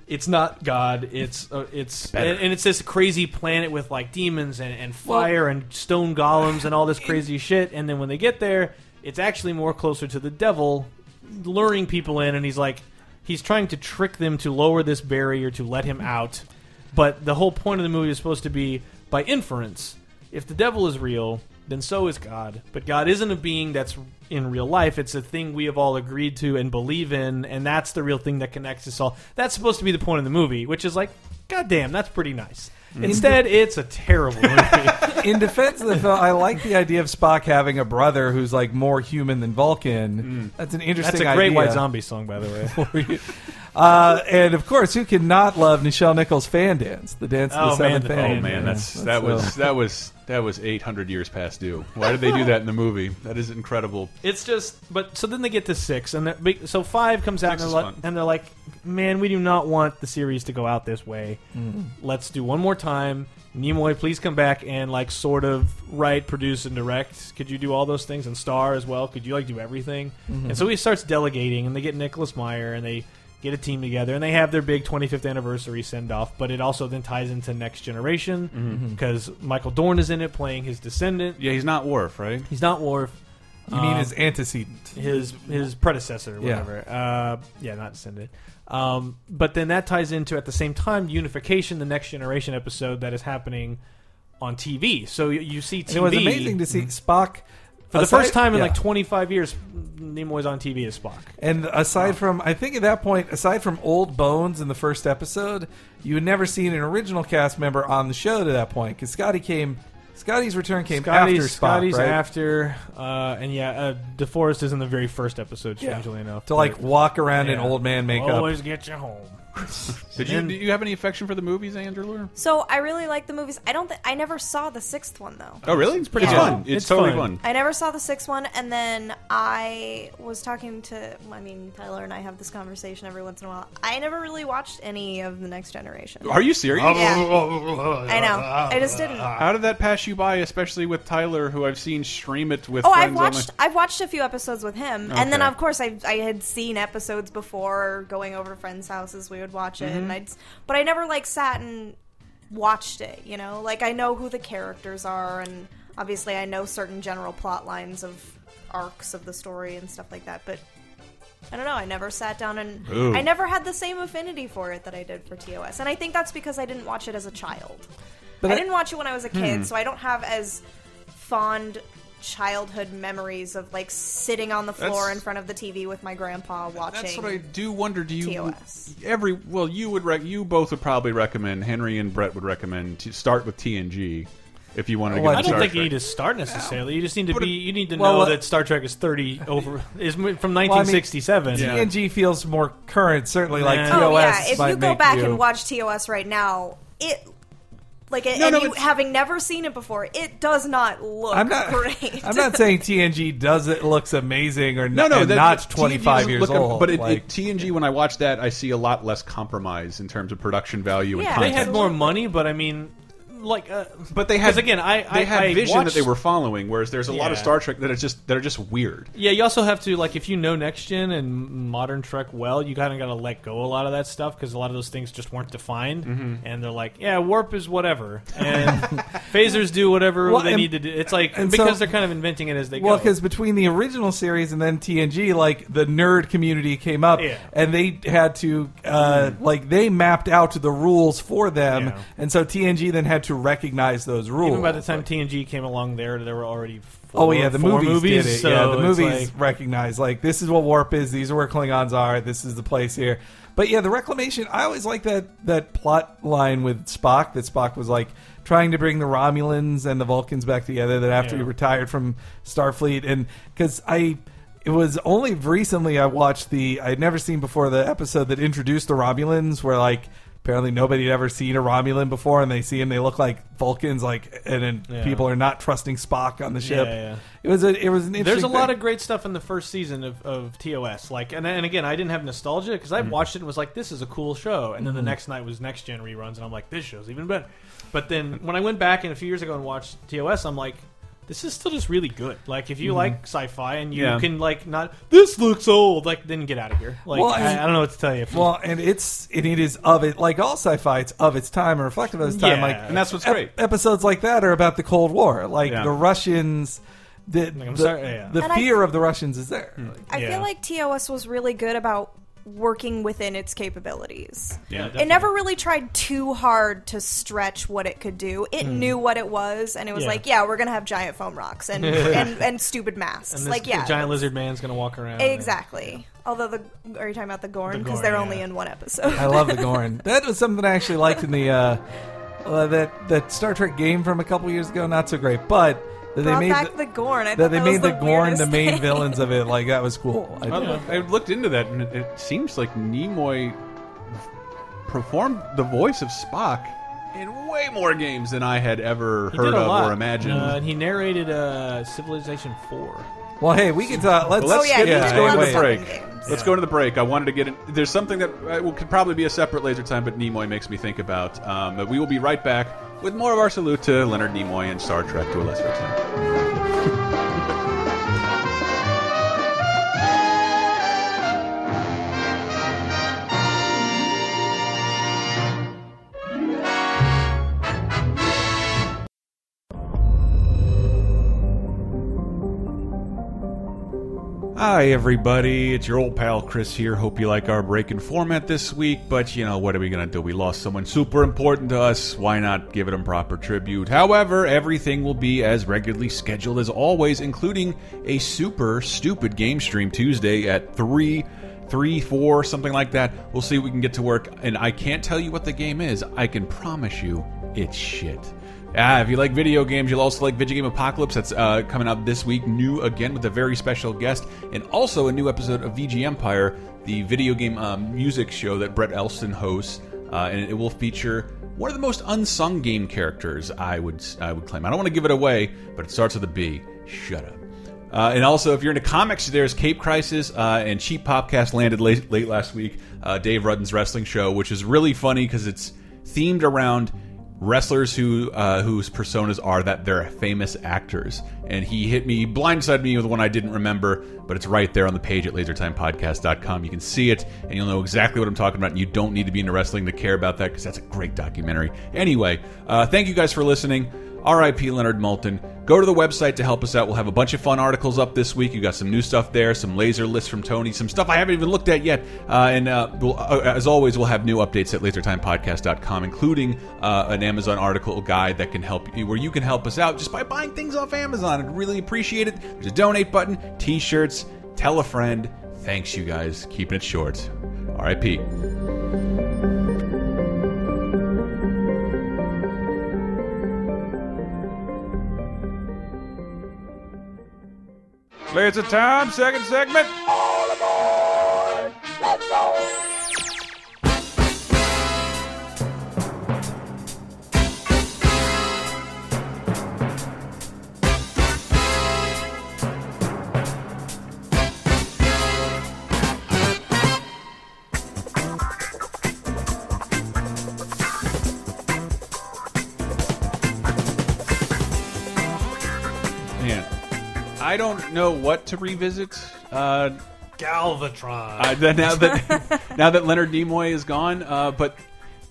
It's not God. It's uh, it's and, and it's this crazy planet with like demons and, and fire and stone golems and all this crazy shit. And then when they get there, it's actually more closer to the devil, luring people in. And he's like, he's trying to trick them to lower this barrier to let him out. But the whole point of the movie is supposed to be by inference. If the devil is real, then so is God. But God isn't a being that's in real life. It's a thing we have all agreed to and believe in, and that's the real thing that connects us all. That's supposed to be the point of the movie, which is like, goddamn, that's pretty nice. Instead, it's a terrible movie. in [LAUGHS] defense of the film, I like the idea of Spock having a brother who's like more human than Vulcan. That's an Mm. that's interesting. a great idea. White [LAUGHS] Zombie song, by the way. Uh, and of course, who could not love Nichelle Nichols' fan dance, the dance of the Oh, man, seventh the fan? Oh man, Yeah, that's that uh, was that was that was 800 years past due. Why did they do that in the movie? That is incredible. It's just, but so then they get to six, and they're- be- so five comes out, Six and they're, is like, fun. and they're like, "Man, we do not want the series to go out this way. Let's do one more time. Nimoy, please come back and like sort of write, produce, and direct. Could you do all those things and star as well? Could you like do everything?" And so he starts delegating, and they get Nicholas Meyer, and they get a team together, and they have their big 25th anniversary send off. But it also then ties into Next Generation because Michael Dorn is in it playing his descendant. Mm-hmm. Yeah, he's not Worf, right? He's not Worf You mean his antecedent? um, his his predecessor, Yeah. whatever. Uh, yeah, not descendant. Um, but then that ties into at the same time unification, the next generation episode that is happening on TV. So you, you see TV. And it was amazing to see Spock Mm-hmm. uh, for the first time in like like 25 years. Nimoy's on TV as Spock. And aside from, I think at that point, aside from old bones in the first episode, you had never seen an original cast member on the show to that point because Scotty came. Scotty's return came Scotty's, after Spock, Scotty's right? after, uh, and yeah, uh, DeForest is in the very first episode, strangely enough. to like walk around in Yeah. old man makeup. always get you home. Did you do you have any affection for the movies, Andrew? So I really like the movies. I don't. Th- I never saw the sixth one though. Oh, really? It's pretty fun. fun. It's, It's totally fun. fun. I never saw the sixth one, and then I was talking to. I mean, Tyler and I have this conversation every once in a while. I never really watched any of the Next Generation. Are you serious? I know. I just didn't. How did that pass you by, especially with Tyler, who I've seen stream it with? Oh, friends I've on watched. I've watched a few episodes with him, and then Okay. of course I I had seen episodes before going over to friends' houses. We would watch it, Mm-hmm. and I'd. s- But I never like sat and watched it. You know, like I know who the characters are, and obviously I know certain general plot lines of arcs of the story and stuff like that. But I don't know. I never sat down and Ooh. I never had the same affinity for it that I did for TOS, and I think that's because I didn't watch it as a child. But I I- didn't watch it when I was a kid, so I don't have as fond childhood memories of like sitting on the floor That's- in front of the TV with my grandpa watching. That's what I do wonder. Do you TOS. every well? You would rec you both would probably recommend Henry and Brett would recommend to start with TNG if you wanted to. Well, get Oh, I into don't Star think you Trek. need to start necessarily. You just need to But it- uh, be. You need to Well, know what- that Star Trek is thirty over is from 1967. 1967. Yeah. TNG feels more current, certainly like Yeah. TOS. oh yeah, Oh, if might you go make back you- and watch TOS right now, it Like, it, No, and no, you it's- having never seen it before, it does not look I'm not. [LAUGHS] great. I'm not saying TNG does it looks amazing or No, not, no, and that- not TNG 25 doesn't years look- old. But it, like, it, TNG, when I watch that, I see a lot less compromise in terms of production value and Yeah, They content. had more money, but I mean, like, uh, but they had 'cause again, I, I they had I vision that watched, they were following. Whereas there's a lot of Yeah. Star Trek that are just that are just weird. Yeah, you also have to like if you know next gen and modern Trek well, you kind of got to let go a lot of that stuff because a lot of those things just weren't defined, Mm-hmm. and they're like, yeah, warp is whatever, [LAUGHS] and phasers do whatever Well, they and- need to do. It's like and because so- they're kind of inventing it as they Well, go. because between the original series and then TNG, like the nerd community came up, Yeah. Mm. and they had to uh, like they mapped out the rules for them, Yeah. and so TNG then had to recognize those rules. even by the time TNG came along, there there were already four, Oh yeah, the four movies, movies did it. So yeah, the it's movies like- recognize like this is what warp is. These are where Klingons are. This is the place here. But yeah, the reclamation. I always like that that plot line with Spock. That Spock was like trying to bring the Romulans and the Vulcans back together. That after he Yeah. retired from Starfleet, and because I. It was only recently I watched the I'd never seen before the episode that introduced the Romulans, where like apparently nobody had ever seen a Romulan before, and they see him, they look like Vulcans, like and, then Yeah. people are not trusting Spock on the ship. Yeah, yeah. It was a, it was an interesting. There's a lot thing. of great stuff in the first season of, of TOS. Like, and, and again, I didn't have nostalgia because Mm-hmm. I watched it and was like, "This is a cool show." And then the next night was Next Gen reruns, and I'm like, "This show's even better." But then when I went back in a few years ago and watched TOS, I'm like, "This is still just really good." Like, Mm-hmm. if you like sci-fi and you Yeah. can like not, this looks old. Like, then get out of here. Like, Well, I, and- I don't know what to tell you. If- Well, and it's and it is of it like all sci-fi. It's of its time and reflective of its time. Yeah. Like And that's what's ep- great. Episodes like that are about the Cold War. Like Yeah. the Russians, the I'm the, sorry, yeah. Hmm. the And I- fear of the Russians is there. I Yeah. feel like TOS was really good about working within its capabilities. Yeah, it never really tried too hard to stretch what it could do. It knew what it was, and it was Yeah. like, yeah, we're gonna have giant foam rocks and and, and stupid masks. and this like, yeah, giant lizard man's gonna walk around. and- exactly. Although the are you talking about the Gorn? Because Gorn, they're yeah. only in one episode. I love the [LAUGHS] Gorn. That was something I actually liked in the uh, uh, that that Star Trek game from a couple years ago. Not so great, but that they Brought made back the, the, Gorn. I that thought they that made was the Gorn the weirdest main thing. villains of it. Like that was cool. I- I, looked, I looked into that, and it, it seems like Nimoy performed the voice of Spock in way more games than I had ever He did heard a of lot. or imagined. Uh, and he narrated uh, Civilization Four. Well, hey, we can talk. Let's, Well, Oh, yeah, skip- he yeah, did let's a go lot into of the stuff break. in games. Let's go to the break. I wanted to get in. There's something that uh, will- could probably be a separate laser time, but Nimoy makes me think about. Um, but we will be right back with more of our salute to Leonard Nimoy and Star Trek to a lesser extent. Hi, everybody. It's your old pal Chris here. Hope you like our break in format this week, but you know, what are we going to do? We lost someone super important to us. Why not give them proper tribute? However, everything will be as regularly scheduled as always, including a super stupid game stream Tuesday at 3 three, four, something like that. We'll see if we can get to work. And I can't tell you what the game is. I can promise you it's shit. Ah, if you like video games, you'll also like Video Game Apocalypse. That's uh, coming out this week, new again with a very special guest, and also a new episode of VG Empire, the video game um, music show that Brett Elston hosts, uh, and it will feature one of the most unsung game characters. I would I would claim. I don't want to give it away, but it starts with a B. Shut up. Uh, and also, if you're into comics, there's Cape Crisis uh, and Cheap Popcast landed late, late last week. Uh, Dave Rudden's wrestling show, which is really funny because it's themed around wrestlers who uh, whose personas are that they're famous actors. And he hit me, blindsided me with one I didn't remember, but it's right there on the page at LaserTimePodcast.com. You can see it, and you'll know exactly what I'm talking about. And you don't need to be into wrestling to care about that because that's a great documentary. Anyway, uh, thank you guys for listening. RIP Leonard Moulton. Go to the website to help us out. We'll have a bunch of fun articles up this week. You got some new stuff there, some laser lists from Tony, some stuff I haven't even looked at yet. Uh, and uh, we'll, uh, as always, we'll have new updates at lasertimepodcast.com, including uh, an Amazon article guide that can help you, where you can help us out just by buying things off Amazon. I'd really appreciate it. There's a donate button, t shirts, tell a friend. Thanks, you guys. Keeping it short. RIP. Laser time, second segment. I don't know what to revisit. Uh, Galvatron. uh, that- now that now that Leonard Nimoy is gone, uh, but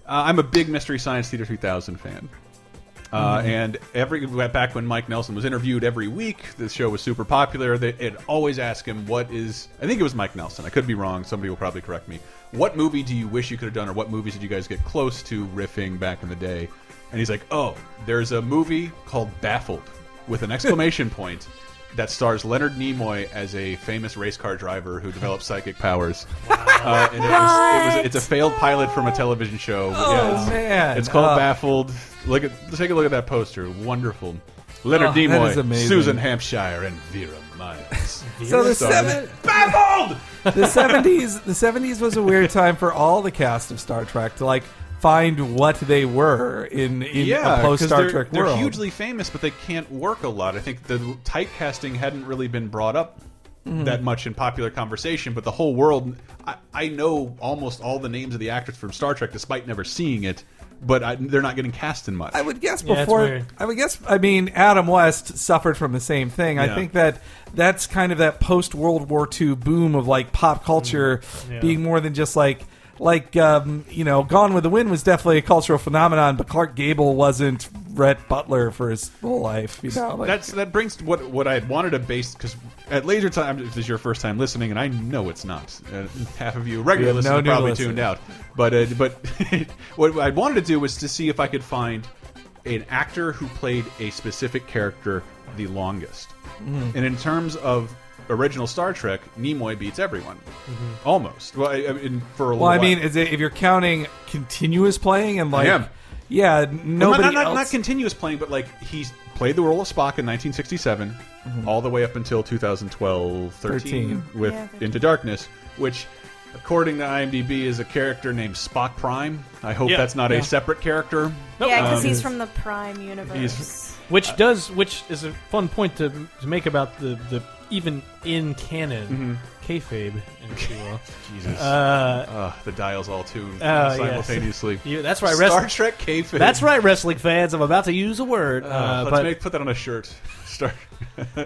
uh, I'm a big Mystery Science Theater 3000 fan. Uh, And every back when Mike Nelson was interviewed every week, the show was super popular. They would always ask him, "What is?" I think it was Mike Nelson. I could be wrong. Somebody will probably correct me. What movie do you wish you could have done, or what movies did you guys get close to riffing back in the day? And he's like, "Oh, there's a movie called Baffled with an exclamation point that stars Leonard Nimoy as a famous race car driver who develops psychic powers." Uh, and it was, it was, it's a failed pilot from a television show. Yeah, it's- man. it's called Uh, Baffled. Look at let's take a look at that poster. Wonderful. Leonard Oh, that is Nimoy, amazing. Susan Hampshire, and Vera Miles. [LAUGHS] So the Sorry. seven, Baffled. the seventies the seventies was a weird time for all the cast of Star Trek to like find what they were in in Yeah, a post 'cause Star they're, Trek they're world. hugely famous, but they can't work a lot. I think the typecasting hadn't really been brought up Mm-hmm. that much in popular conversation, but the whole world. I, I know almost all the names of the actors from Star Trek, despite never seeing it. But I, they're not getting cast in much. I would guess Yeah, it's before weird. I would guess I mean Adam West suffered from the same thing. Yeah. I think that that's kind of that post World War II boom of like pop culture Mm, Yeah. being more than just like like um, you know Gone with the Wind was definitely a cultural phenomenon, but Clark Gable wasn't Rhett Butler for his whole life. You know, like, That's that brings what what I had wanted to base because at laser time if this is your first time listening and I know it's not uh, half of you regular We have no listeners new probably listeners. tuned out but uh, but [LAUGHS] what I wanted to do was to see if I could find an actor who played a specific character the longest Hmm. and in terms of original Star Trek Nimoy beats everyone almost well I, I mean, for a Mm-hmm. well, little I mean, while. is it, if you're counting continuous playing and like am. yeah, nobody not, not, else. not continuous playing, but like he played the role of Spock in 1967, Mm-hmm. all the way up until 2012, 13, 13. with Yeah, I think- Into Darkness, which, according to IMDb, is a character named Spock Prime. I hope Yeah, that's not yeah. a separate character. [LAUGHS] yeah, because he's from the Prime universe. he's- which does which is a fun point to, to make about the, the even in canon Mm-hmm. kayfabe, [LAUGHS] if you will. Jesus, Uh, Ugh, the dials all tuned yes. [LAUGHS] simultaneously. you, that's right, Star wrestling. Trek kayfabe. That's right, wrestling fans. I'm about to use a word, uh, Uh, let's but make put that on a shirt. [LAUGHS] Star.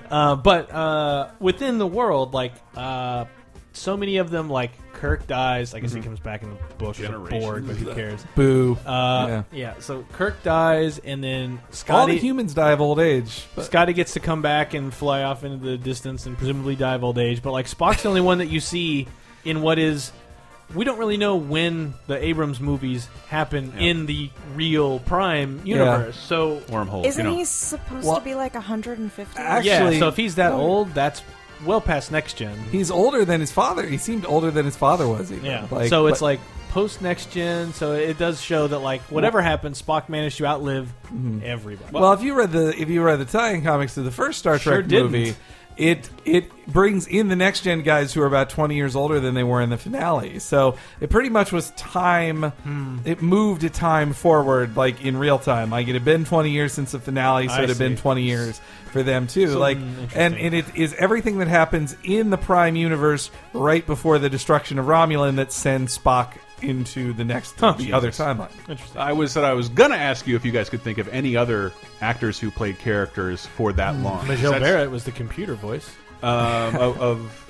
uh, but uh, within the world, like uh, so many of them, like Kirk dies. I guess he comes back in the bush as a Mm-hmm. Generations. Borg, but who [LAUGHS] cares? Boo. Uh, yeah. Yeah. So Kirk dies, and then All the Scotty. humans die of old age. but- Scotty gets to come back and fly off into the distance and presumably die of old age. But like Spock's the only one that you see in what is we don't really know when the Abrams movies happen in the real Prime universe. So Wormhole. Isn't you know. he supposed Well- to be like 150? Actually- yeah, so if he's that old, that's well past next gen. He's older than his father. He seemed older than his father was. Even. Yeah. Like, so it's but- like post next gen. So it does show that like whatever happens, Spock managed to outlive Mm-hmm. everybody. well, if you read the if you read the tie-in comics to the first Star Sure Trek didn't. movie, it it brings in the next gen guys who are about twenty years older than they were in the finale. So it pretty much was time. Hmm. It moved a time forward, like in real time. Like it had been twenty years since the finale, so I it had been see. twenty years for them too. like and interesting. and it is everything that happens in the Prime universe right before the destruction of Romulan that sends Spock into the next Oh, the other timeline. Interesting. I was that I was gonna ask you if you guys could think of any other actors who played characters for that long. Michelle That's- Barrett was the computer voice. um, of, of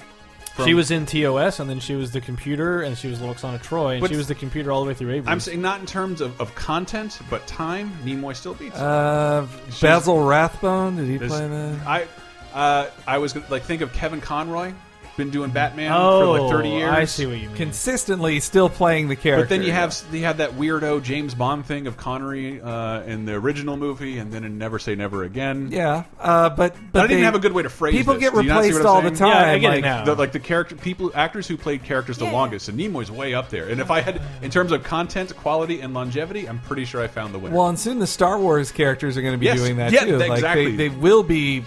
from- she was in TOS, and then she was the computer, and she was Loxana Troy, and But- she was the computer all the way through Abrams. I'm saying not in terms of, of content, but time. Nimoy still beats. it. Uh, Basil Rathbone. Did he There's- play that? I uh, I was gonna, like think of Kevin Conroy, been doing Batman oh, for like 30 years. I see what you mean. Consistently, still playing the character. But then you have you have that weirdo James Bond thing of Connery uh, in the original movie, and then in Never Say Never Again. yeah, uh, but but I didn't they- have a good way to phrase. People this. get Do you not see what replaced I'm all the saying? time. Yeah, I get it like, now. The, like the character people actors who played characters the Yeah. longest and Nimoy's way up there. And if I had in terms of content, quality, and longevity, I'm pretty sure I found the winner. Well, and soon the Star Wars characters are going to be Yes, doing that yeah, too. Like exactly. they, they will be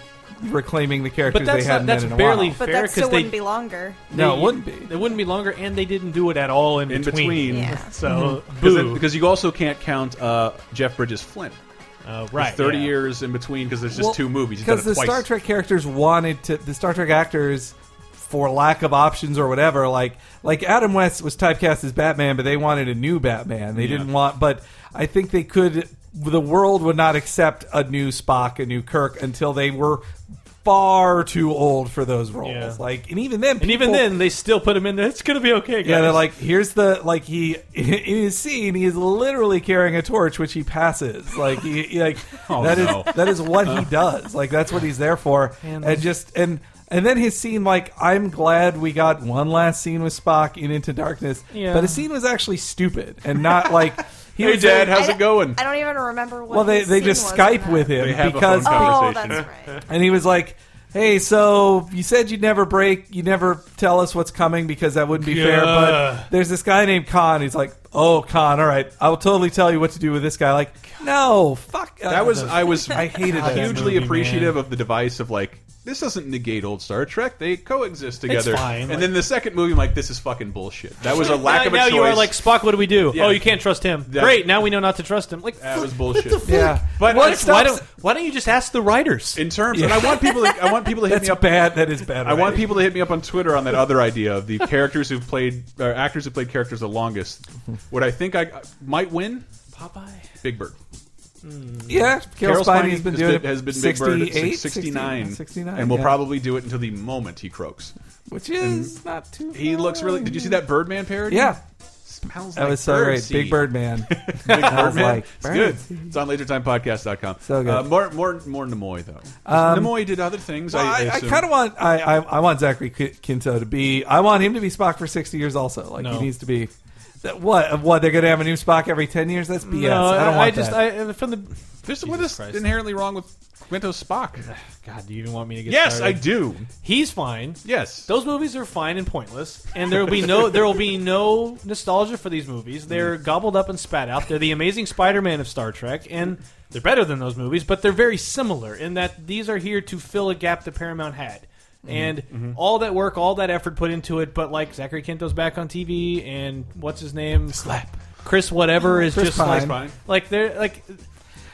reclaiming the characters but that's they not, hadn't that's been in a barely while. but fair that still because they wouldn't be longer. No, they- it wouldn't be. It wouldn't be longer, and they didn't do it at all in, in between. between, Yeah. [LAUGHS] So Because then- boo. because you also can't count uh, Jeff Bridges Flint. Uh, There's right, 30 yeah. years in between because there's just Well, two movies. He's done Because it the twice. Star Trek characters wanted to, the Star Trek actors, for lack of options or whatever, like like Adam West was typecast as Batman, but they wanted a new Batman. They didn't want, but I think they could. The world would not accept a new Spock, a new Kirk, until they were far too old for those roles. Yeah. Like, and even then, And even people- then, they still put him in there. It's gonna be okay. Guys. yeah, they're like, here's the like he [LAUGHS] in his scene, he is literally carrying a torch, which he passes. Like, he, he, like [LAUGHS] Oh, that is no. that is what [LAUGHS] he does. Like, that's what he's there for. and just and and then his scene, like, I'm glad we got one last scene with Spock in Into Darkness. Yeah. But his scene was actually stupid and not like he Hey, [LAUGHS] was Dad, very- how's I it going? I don't even remember what. well, they his they scene just was in Skype that. with him They have a because phone Oh, Conversation. that's right. and he was like, "Hey, so you said you'd never break, you never tell us what's coming because that wouldn't be fair. Yeah. But there's this guy named Khan. He's like, oh, Khan, all right, I will totally tell you what to do with this guy. Like, no, fuck. uh, That was I was I hated that hugely movie, appreciative of the device of like this doesn't negate old Star Trek. They coexist together. fine, And like- then the second movie, I'm like this is fucking bullshit. That [LAUGHS] was a Now- lack of a now choice. you are like Spock. What do we do? Yeah. Oh, you can't trust him. Yeah. Great. Now we know not to trust him. Like that fuck, [LAUGHS] was bullshit. Yeah, But What why stops- don't why don't you just ask the writers? in terms, and I want people. To, I want people to hit that's me up. bad. That is bad. I want writing. people to hit me up on Twitter on that other idea of the characters who've played or actors who played characters the longest. What I think I might win, Popeye. Big Bird. Yeah, Carol, Spiney has been has doing been, has been Big Bird at 68, 69, 69, and will yeah. probably do it until the moment he croaks. which is not too. He bad. looks really. Did you see that Birdman parody? Yeah, smells that like was so bird great. seed. Big Bird Man. [LAUGHS] Big [LAUGHS] Birdman. like, it's bird good. seed. It's on LaserTimePodcast.com. So good. Um, Uh, more, more, more Nimoy though. 'Cause Nimoy did other things. Well, I, I, I assume. kind of want I, I I want Zachary Ki- Quinto to be I want him to be Spock for sixty years also. Like No. he needs to be. That, what what they're going to have a new Spock every ten years? That's BS. no, I don't want I just that. I from the There's what is Christ. inherently wrong with Quinto Spock. God. Do you even want me to get? Yes, I started? do. He's fine. Yes. Those movies are fine and pointless, and there will be no there will be no nostalgia for these movies. They're gobbled up and spat out. They're the Amazing Spider-Man of Star Trek, and they're better than those movies, but they're very similar in that these are here to fill a gap that Paramount had, and all that work, all that effort put into it. But like Zachary Quinto's back on TV, and what's his name? Slap. Chris whatever is Chris just Pine. like like they're like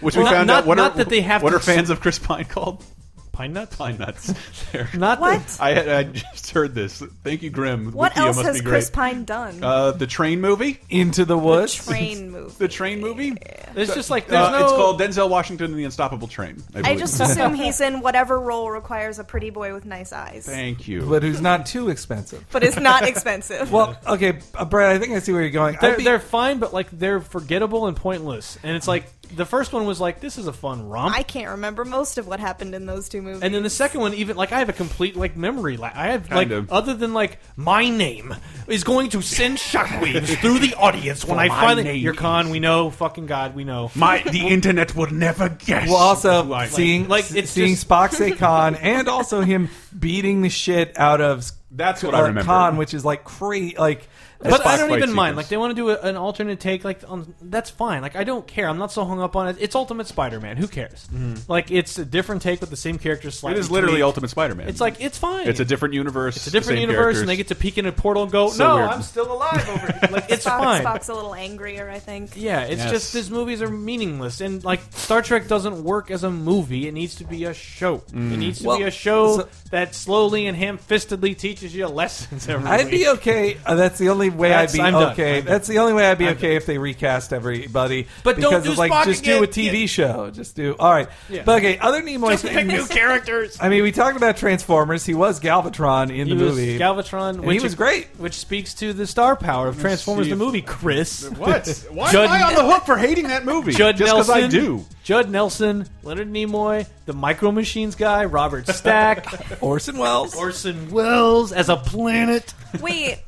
Which Well, we not- found out. not- What not are, that they have What to- are fans of Chris Pine called? [LAUGHS] pine nuts. Pine [LAUGHS] nuts. There. Not What? the- I, had- I just heard this. Thank you, Grim. What Wikia else must has be Chris great. Pine done? Uh, the train movie. Into the woods. Train movie. The train movie. it's just like there's Uh, no. It's called Denzel Washington and the Unstoppable Train. I, I believe. just assume he's in whatever role requires a pretty boy with nice eyes, Thank you. but who's not too expensive. but it's not expensive. Well, okay, uh, Brad. I think I see where you're going. I'd they're, be- they're fine, but like they're forgettable and pointless. And it's like the first one was like this is a fun romp, I can't remember most of what happened in those two movies. and then the second one even like I have a complete like memory. La- I have like Kind of. other than like my name is going to [LAUGHS] send shockwaves through the audience when I finally you're Khan. We know, fucking God, we know. My the internet would never guess. well, also Like- seeing like, like, it's seeing just- [LAUGHS] Spock say Khan, and also him beating the shit out of s- That's what uh, I remember. Khan, which is like crazy. Like, But I Spock don't fight even mind. sequence. Like they want to do a, an alternate take. Like on, that's fine. Like I don't care. I'm not so hung up on it. It's Ultimate Spider-Man. Who cares? Like it's a different take with the same character. Mm-hmm. it slightly is literally tweaked. Ultimate Spider-Man. It's like it's fine. it's a different universe. It's a different universe, and they get to peek in a portal and go, So "No, weird. I'm still alive over here." [LAUGHS] Like it's Spock, fine. Spock's a little angrier, I think. Yeah, it's Yes. just these movies are meaningless, and like Star Trek doesn't work as a movie. It needs to be a show. It needs to Well, be a show so- that slowly and ham-fistedly teaches you lessons every I'd week. be okay. Uh, that's the only way That's- I'd be I'm done. okay. I'm done. That's the only way I'd be I'm okay if they recast everybody. But don't because do it's like Spock just again. do a TV show. Just do all right. Yeah. But okay, other Nimoy just pick new things. characters. I mean, we talked about Transformers. He was Galvatron in He the was movie. Galvatron, And which he was great. which speaks to the star power of Transformers see the if- movie. Chris, What? [LAUGHS] Why Judd- am I on the hook for hating that movie? Judd Just Nelson. I do. Judd Nelson, Leonard Nimoy, the Micro Machines guy, Robert Stack. [LAUGHS] Orson Welles. Orson Welles as a planet. Wait,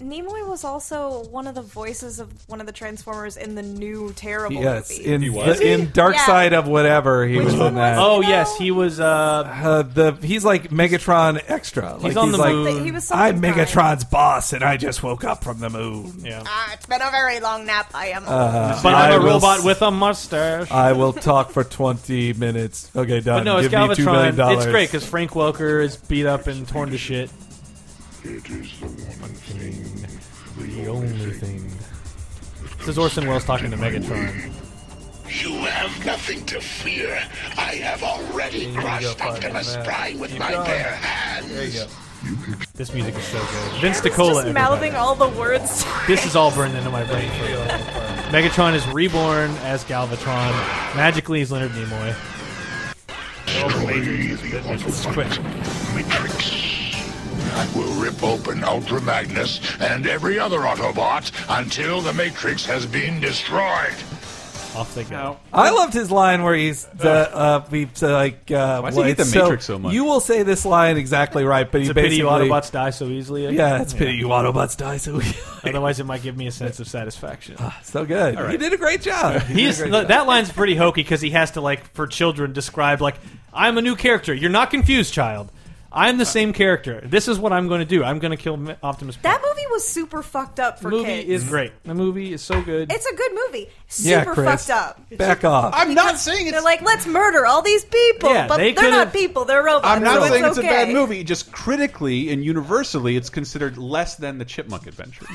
Nimoy was also one of the voices of one of the Transformers in the new terrible yes, movie. in was? the, in Dark Yeah. Side of whatever he was in one that. was Oh No. yes, he was. Uh, Uh, the he's like Megatron extra. Like, on the like, moon. he was I'm something fine. Megatron's boss, and I just woke up from the moon. yeah. Ah, it's been a very long nap. I Uh, am. But I I'm a will robot s- with a mustache. I will talk for 20 minutes. Okay, done. but no, it's Uh, Give me $2 million. Galvatron. It's great because Frank Welker is beat up and torn to shit. It is the one thing. The only thing. This is Orson Welles talking to Megatron. You have nothing to fear. I have already go, crushed fucking Optimus man. Prime with Keep my going. bare hands. There you go. This music is so good. Vince I was DiCola. just everybody. mouthing all the words. [LAUGHS] This is all burned into my brain. for real. Megatron is reborn as Galvatron. Magically, he's Leonard Nimoy. local agents. It's quick. I will rip open Ultra Magnus and every other Autobot until the Matrix has been destroyed. Off they go. I loved his line where he's uh, uh, we so like uh, Why does he hate the so- Matrix so much? You will say this line exactly right, but It's he a pity basically Autobots die so easily. I yeah, guess. it's a pity you Autobots die so Otherwise, it might give me a sense of satisfaction. [LAUGHS] so good. You did a great job. You did a He's great look, job. that line's pretty hokey because he has to like for children describe like I'm a new character. You're not confused, child. I'm the same character. This is what I'm going to do. I'm going to kill Ma- Optimus. That Prime." movie was super fucked up for movie kids. is great. The movie is so good. it's a good movie. Super yeah, Chris, fucked up. Back off. I'm not saying They're it's. like, let's murder all these people, Yeah, but they they are could've- not people; they're robots. I'm not so saying it's a okay. bad movie. Just critically and universally, it's considered less than the Chipmunk [LAUGHS] Adventure.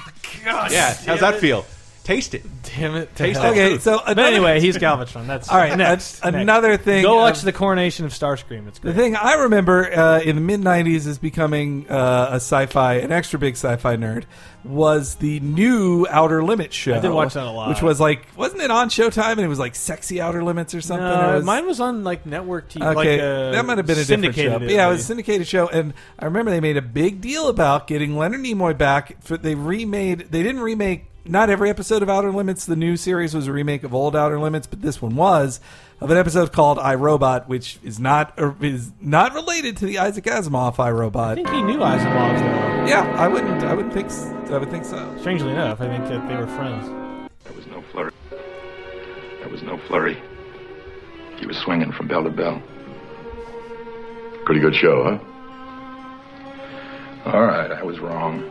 yeah, how's that feel? Taste it. damn it. Taste that okay, food. so But another- anyway, [LAUGHS] he's Galvatron. That's All right, Next, an- next. another thing, Go watch um, the coronation of Starscream. It's The great. thing I remember uh, in the mid '90s is becoming uh, a sci-fi, an extra big sci-fi nerd, was the new Outer Limits show. I did watch that a lot. which was like, wasn't it on Showtime? And it was like sexy Outer Limits or something. No, It was- Uh, mine was on like network TV. okay, like, uh, that might have been a different syndicated. show. But yeah, it was a syndicated show, and I remember they made a big deal about getting Leonard Nimoy back. For, they remade, they didn't remake. Not every episode of Outer Limits. The new series was a remake of old Outer Limits, but this one was of an episode called I Robot, which is not or is not related to the Isaac Asimov I I Robot. think he knew Asimov. Yeah, I wouldn't. I wouldn't think. s- I would think so. Though. Strangely enough, I think that they were friends. There was no flurry. There was no flurry. He was swinging from bell to bell. Pretty good show, huh? All right, I was wrong.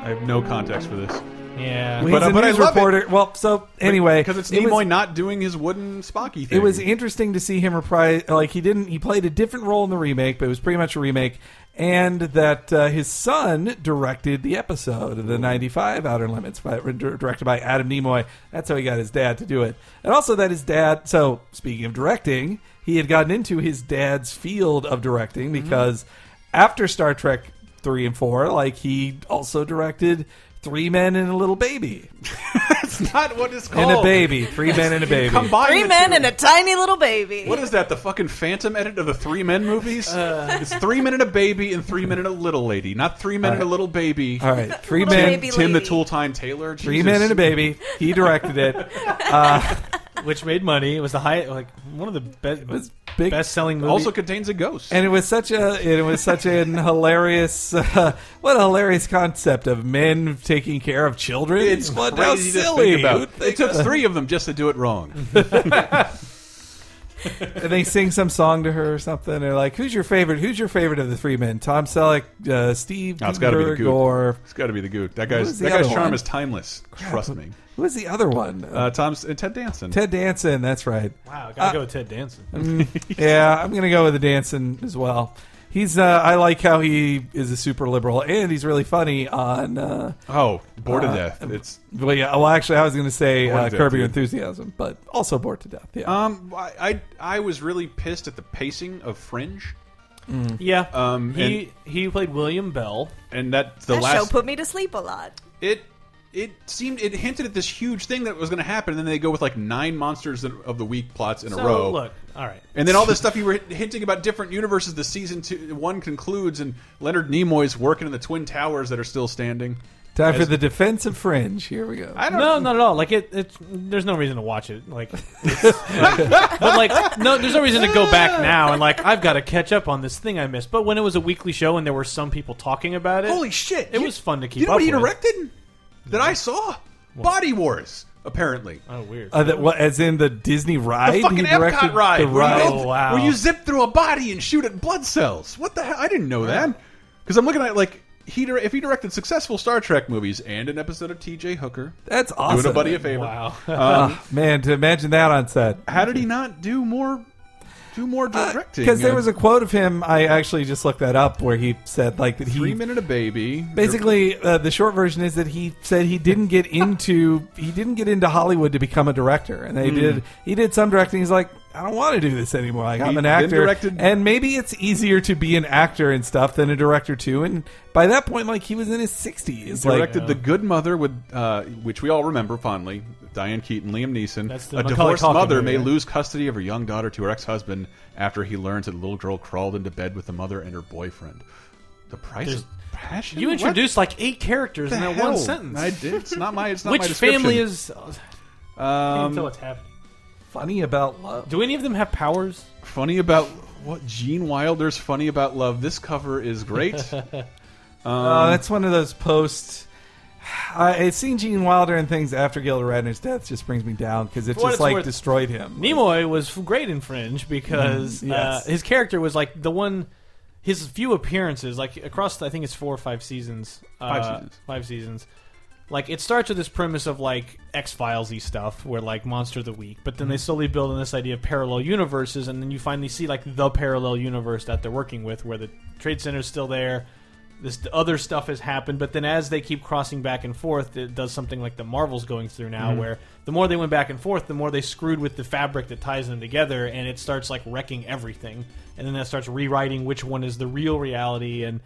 I have no context for this. Yeah. Well, But- he's a but I news love it. reporter. Well, so anyway, because it's it Nimoy was- not doing his wooden Spocky thing. It was interesting to see him reprise. Like he didn't. He played a different role in the remake, but it was pretty much a remake. And that uh, his son directed the episode of the '95 Outer Limits, by, dir- directed by Adam Nimoy. That's how he got his dad to do it. And also that his dad. So speaking of directing, he had gotten into his dad's field of directing because after Star Trek three and four, like he also directed. Three men and a little baby, That's not what [LAUGHS] it's called. and a baby. Three men and a baby. Combine Three the men two. and a tiny little baby. What is that? The fucking Phantom edit of the Three Men movies? Uh. it's Three Men and a Baby and Three Men and a Little Lady, not Three Men and a Little Baby. All right, three Little men, baby Tim the lady. Tool Time Taylor. Three Men and a Baby. He directed it. which made money. It was the high, like one of the best, was big- best selling movies. Also contains a ghost. And it was such a it was such an hilarious [LAUGHS] uh, what a hilarious concept of men taking care of children. it's what how crazy to silly. Mm-hmm. think about. Who'd think It took of- three of them just to do it wrong. and they sing some song to her or something. They're like, "Who's your favorite? Who's your favorite of the three men? Tom Selleck, uh, Steve No, it's gotta be the Gutenberg, Goot. or It's got to be the Goot. That What guy's was the that guy's other charm one? is timeless. Trust me. who was the other one? Uh, Tom's and Ted Danson. Ted Danson. [LAUGHS] That's right. wow, uh, gotta go with Ted Danson. Mm-hmm. yeah, I'm gonna go with the Danson as well. He's uh, I like how he is a super liberal and he's really funny on. Uh, um, oh, bored to death. It's Well, yeah. Well, actually, I was going to say Bored uh, to Curb death, Your dude. Enthusiasm, but also bored to death. Yeah. um. I, I I was really pissed at the pacing of Fringe, Yeah, Um, he he played William Bell. and that the that last show put me to sleep a lot. it it seemed it hinted at this huge thing that was going to happen, and then they go with like nine monsters in- of the week plots in So a row. look, all right, And then all this stuff you were hinting about different universes. The season two, one concludes, and Leonard Nimoy's working in the twin towers that are still standing. Time for the defense of Fringe. Here we go. I don't no, not at all. Like it, it's there's no reason to watch it. Like, it's- [LAUGHS] like- but like no, there's no reason to go back now and like I've got to catch up on this thing I missed. But when it was a weekly show and there were some people talking about it, Holy shit! it was fun to keep You know up what he with. directed? That I saw Body Wars. Apparently, Oh weird. Uh, that, what, as in the Disney ride? the fucking He directed Epcot ride. The where, ride. You Oh, wow. where you zip through a body and shoot at blood cells. What the hell? I didn't know that. Because I'm looking at like he dir- if he directed successful Star Trek movies and an episode of T.J. Hooker, That's awesome. doing a buddy a favor. wow. Uh-huh. Ah, man, to imagine that on set. How did he not do more? Do more directing? Because Uh, there was a a quote of him. I actually just looked that up where he said like that he three minute a baby. Basically, uh, the short version is that he said he didn't get into he didn't get into Hollywood to become a director, and they did he did some directing. He's like, I don't want to do this anymore. Like I'm He an then actor, directed- and maybe it's easier to be an actor and stuff than a director too. And by that point, like he was in his 60s. Like, directed The Good Mother with uh, which we all remember fondly. Diane Keaton, Liam Neeson. That's the a Macaulay divorced Culkin mother may movie, right? lose custody of her young daughter to her ex-husband after he learns that the little girl crawled into bed with the mother and her boyfriend. The price There's- of passion. You What introduced like eight characters the in that hell? one sentence. I did. It's not my. It's not [LAUGHS] Which my description. family is? I can't tell um, what's happening. funny about love. Do any of them have powers? funny about what Gene Wilder's funny about love? This cover is [LAUGHS] great. Uh, that's one of those posts. I seeing Gene Wilder and things after Gilda Radner's death just brings me down because it For what just it's like worth, destroyed him. Nimoy was f- great in Fringe because Mm, yes. uh, his character was like the one. His few appearances, like across, I think it's four or five seasons. Five uh, seasons. Five seasons. Like it starts with this premise of like X Files y stuff, where like monster of the week, but then they slowly build on this idea of parallel universes, and then you finally see like the parallel universe that they're working with, where the trade center's still there. This other stuff has happened, but then as they keep crossing back and forth, it does something like the Marvel's going through now, where the more they went back and forth, the more they screwed with the fabric that ties them together, and it starts like wrecking everything, and then that starts rewriting which one is the real reality, and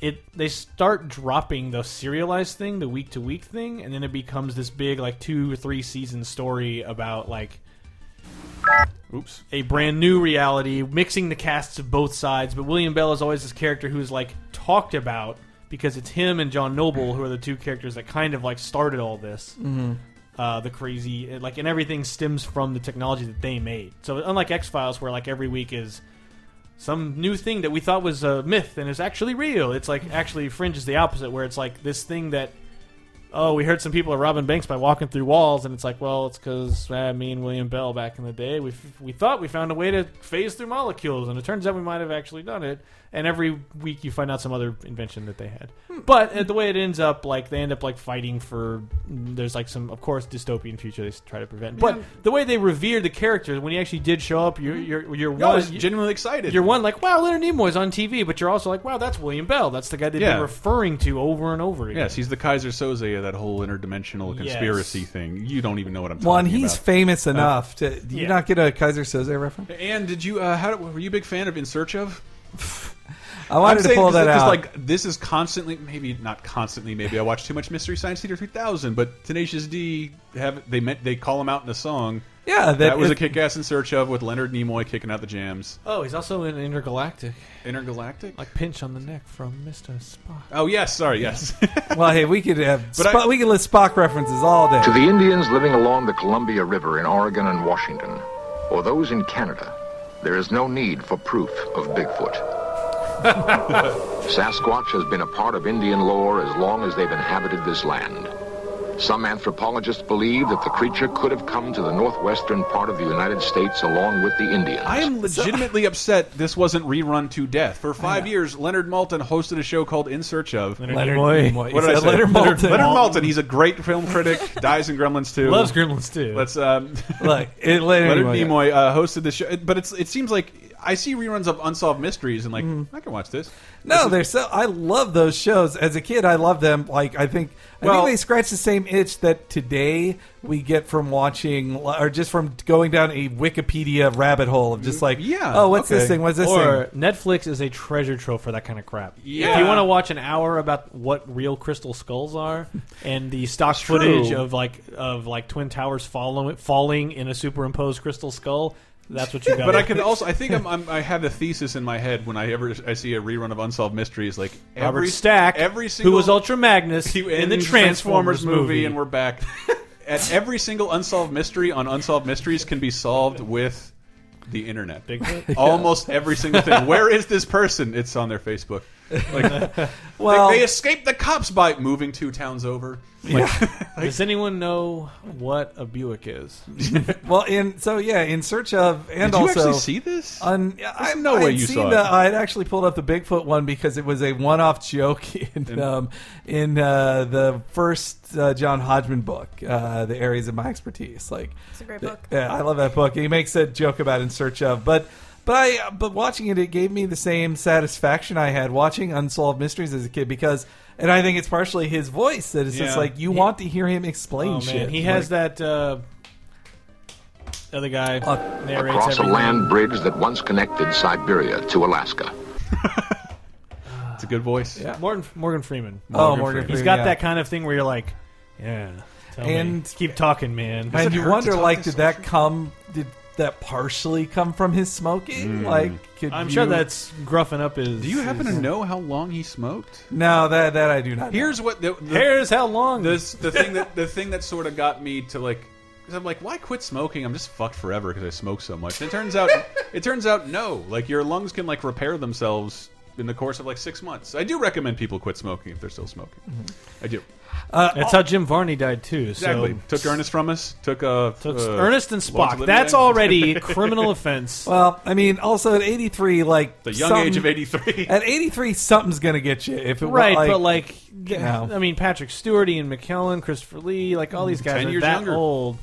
it they start dropping the serialized thing, the week to week thing, and then it becomes this big like two or three season story about like Oops. a brand new reality, mixing the casts of both sides. But William Bell is always this character who's like talked about because it's him and John Noble who are the two characters that kind of like started all this. Uh, the crazy like and everything stems from the technology that they made. So unlike X Files, where like every week is some new thing that we thought was a myth and is actually real. It's like actually Fringe is the opposite, where it's like this thing that oh, we heard some people are robbing banks by walking through walls, and it's like, well, it's because me and William Bell back in the day, we, f- we thought we found a way to phase through molecules, and it turns out we might have actually done it. And every week you find out some other invention that they had. But uh, the way it ends up, like they end up like fighting for. mm, There's like some, of course, dystopian future they s- try to prevent. But the way they revere the character when he actually did show up, you're you're, you're No, I one. was genuinely excited. [LAUGHS] You're one like, wow, Leonard Nimoy's on TV, but you're also like, wow, that's William Bell. That's the guy they've Yeah. been referring to over and over again. Yes, he's the Kaiser Soze of that whole interdimensional Yes. conspiracy thing. You don't even know what I'm talking One, about. he's famous enough to. Do you yeah. not get a Kaiser Soze reference? And did you? Uh, how were you a big fan of In Search of? I wanted to pull that out. like this is constantly, maybe not constantly. Maybe I watch too much Mystery Science Theater 3000. But Tenacious D have they meant they call him out in a song. yeah, that, That, was if- a kick-ass In Search of with Leonard Nimoy kicking out the jams. Oh, he's also in Intergalactic. Intergalactic. like pinch on the neck from Mr. Spock. oh yes, sorry, yes. Well, hey, we could have But I- Spock, we could list Spock references all day. To the Indians living along the Columbia River in Oregon and Washington, or those in Canada, there is no need for proof of Bigfoot. Sasquatch has been a part of Indian lore as long as they've inhabited this land. Some anthropologists believe that the creature could have come to the northwestern part of the United States along with the Indians. I am legitimately upset this wasn't rerun to death. For five years, Leonard Maltin hosted a show called In Search of. Leonard Nimoy. What Nimoy. He did I said say? Leonard Maltin. Leonard Maltin. He's a great film critic. [LAUGHS] dies in Gremlins too. Loves Gremlins too. Let's um, Look, it, Leonard, Leonard Nimoy. Nimoy uh, hosted the show, but it's it seems like I see reruns of Unsolved Mysteries and like Mm. I can watch this. No, they're so. I love those shows. As a kid, I love them. Like I think, I Well- think they scratch the same itch that today we get from watching, or just from going down a Wikipedia rabbit hole of just like, yeah, oh, what's okay. this thing? What's this or thing? Netflix is a treasure trove for that kind of crap. Yeah. If you want to watch an hour about what real crystal skulls [LAUGHS] are and the stock footage of like of like twin towers follow, falling in a superimposed crystal skull, that's what you [LAUGHS] got. But I can also I think I'm, I'm I have a thesis in my head when I ever I see a rerun of Unsolved Mysteries like Robert every Stack, every single who was Ultra Magnus [LAUGHS] He- in the Transformers, movie, and we're [LAUGHS] back. At every single unsolved mystery on Unsolved Mysteries can be solved with the internet. Bigfoot? [LAUGHS] Almost every single thing. Where is this person? It's on their Facebook. [LAUGHS] Like, Well, they escaped the cops by moving two towns over. Does anyone know what a Buick is? well, in so yeah, in search of, and Did you also actually see this? Un, I, no I way had you seen saw the, it. I had actually pulled up the Bigfoot one because it was a one-off joke [LAUGHS] in um, in uh, the first uh, John Hodgman book, uh, "The Areas of My Expertise." Like, it's a great book. yeah, I love that book. He makes a joke about "In Search of," but but I but watching it, it gave me the same satisfaction I had watching Unsolved Mysteries as a kid because. And I think it's partially his voice that is just Yeah. Oh, like you want to hear him explain Oh man, shit. he has that. Uh, other guy narrates across a everything. land bridge that once connected Siberia to Alaska. It's a good voice. Yeah. Morgan Morgan Freeman. Oh, Morgan He's Freeman, got yeah. that kind of thing where you're like, yeah, tell And- me. keep talking, man. it and you hurt to wonder, talk like, to did that come? Did that partially come from his Hmm. smoking? Like, could [LAUGHS] I'm you- sure that's gruffing up his. Do you happen to know how long he smoked? no. That that I do not. know. Here's what the, the Here's [LAUGHS] how long this the thing that the thing that sort of got me to like because I'm like, why quit smoking? I'm just fucked forever because I smoke so much. And it turns out, it turns out, no. Like your lungs can like repair themselves in the course of like six months. I do recommend people quit smoking if they're still smoking. I do That's how Jim Varney died too. So. exactly. took Ernest from us. Took uh, So it's uh, Ernest and Lawrence Spock. Olivier. [LAUGHS] That's already a criminal offense. Well, I mean, also at 83, like the young age something- of '83. At 83, something's gonna get you if it wa- right, like, but like, know. I mean, Patrick Stewart, Ian McKellen, Christopher Lee, like all these guys 10 are years that younger. old.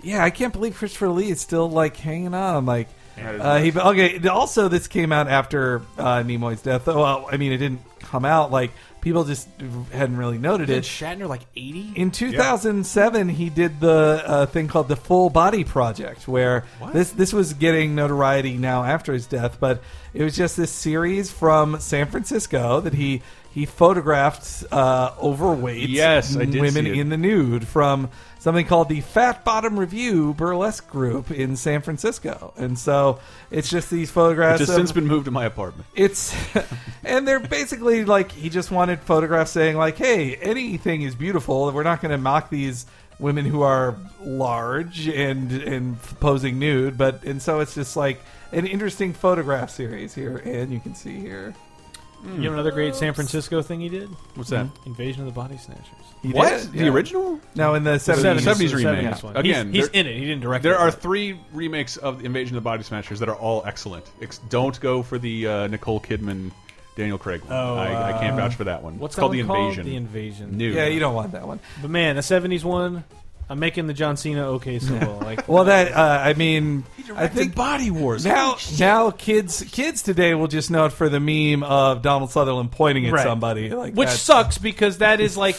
yeah, I can't believe Christopher Lee is still like hanging on. Like, uh, he okay. Also, this came out after uh, Nimoy's death. Well, I mean, it didn't come out. Like, people just hadn't really noted Did it. Shatner like eighty? In 2007, he did the uh, thing called the Full Body Project, where this this was getting notoriety now after his death, but it was just this series from San Francisco that he he photographed uh, overweight Yes, I did women see it. in the nude from something called the Fat Bottom Review burlesque group in San Francisco, and so it's just these photographs. Which has of- since been moved to my apartment. it's [LAUGHS] and they're basically like he just wanted photographs saying like hey anything is beautiful we're not going to mock these women who are large and and posing nude but and so it's just like an interesting photograph series here and you can see here You have another great San Francisco thing he did? What's that? Invasion of the Body Snatchers. He What? did it, The yeah. original? no in the 70s, 70s remake. one. Yeah. Again, he's, he's there- in it. He didn't direct. There it. are three remakes of Invasion of the Body Smashers that are all excellent. Ex don't go for the uh, Nicole Kidman, Daniel Craig one. Oh, I, I can't vouch for that one. What's it's called that The one called? Invasion. The Invasion. New. yeah you don't want that one But man, a '70s one. I'm making the John Cena okay symbol. Like, well that uh, i mean i I think think Body Wars. now, now, kids, kids today will just know it for the meme of Donald Sutherland pointing at Right. somebody, like which that's- sucks because that is like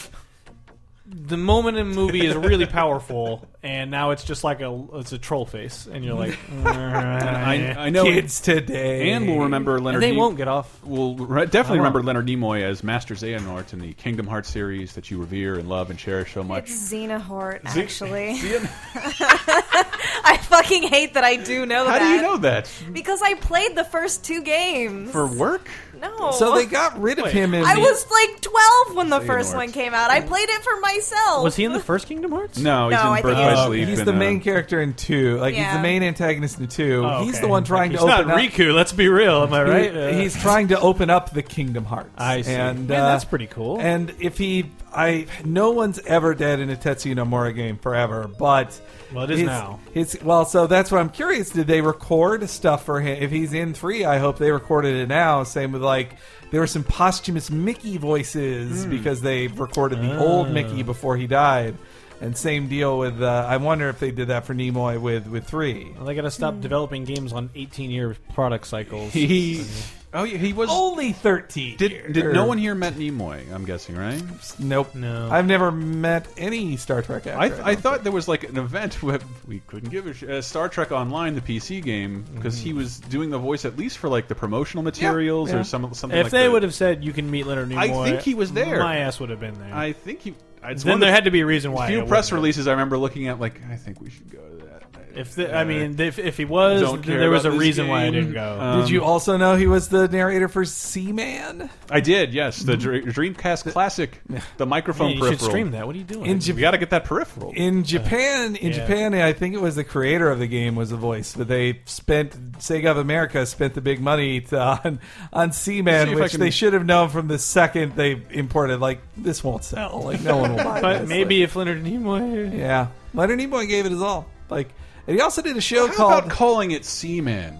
the moment in a movie is really powerful, and now it's just like a it's a troll face, and you're [LAUGHS] like, I, I, I know. kids today. and we'll remember Leonard. they Nimoy- won't Uh-huh. get off. We'll re- definitely remember Leonard Nimoy as Master Xehanort in the Kingdom Hearts series that you revere and love and cherish so much. It's Xenahort, [LAUGHS] actually. [LAUGHS] I fucking hate that I do know How that. do you know that? Because I played the first two games. For work? no. So they got rid of him. In I the- was like 12 when the first Xehanort. one came out. I played it for myself. Was he in the first Kingdom Hearts? No, he's No, in I Birth think by he's- Sleep. He's and, the uh, main character in two. Like he's Yeah. the main antagonist in two. Oh, He's okay. the one trying He's to not open up. Riku. Let's be real. Am I he- right? Uh, he's trying to open up the Kingdom Hearts. I see. And Man, uh, that's pretty cool. And if he, I, no one's ever dead in a Tetsuya Nomura game forever, but Well, it is his- now. his- well, so that's what I'm curious. Did they record stuff for him? If he's in three, I hope they recorded it now. Same with like there were some posthumous Mickey voices Hmm. because they recorded the old Ah. Mickey before he died. And same deal with. Uh, I wonder if they did that for Nimoy with with three. Well, they got to stop developing games on 18-year product cycles. [LAUGHS] He. Oh, yeah, he was. Only thirteen. Did, did Or- no one here met Nimoy? I'm guessing, right? Nope. No. I've never met any Star Trek actor. I, th- I don't thought there was like an event [LAUGHS] where we couldn't give a sh uh, Star Trek Online, the PC game, because he was doing the voice at least for like the promotional materials or Mm-hmm. yeah. some something. if like they that. would have said you can meet Leonard Nimoy, I think he was there. My ass would have been there. I think he. It's then one of there the had to be a reason why. few it press wouldn't. releases I remember looking at. Like, I think we should go to that. If the, I mean, if, if he was, Don't then care there was a about this reason why game. I Uh, didn't go. Did you um, also know he was the narrator for Seaman? I did, yes. The Dr- Mm-hmm. Dreamcast Classic, the microphone Man, you should peripheral. stream that. What are you doing? In We Japan, got to get that peripheral. in Japan, in yeah. Japan, I think it was the creator of the game was the voice, but they spent Sega of America spent the big money to, on on See Seaman, if I which can- they should have known from the second they imported. Like this won't sell. Like no one will buy. but this. maybe if Leonard Nimoy, Like, yeah. Leonard Nimoy gave it his all. Like, and he also did a show How called about calling it [LAUGHS] Seaman?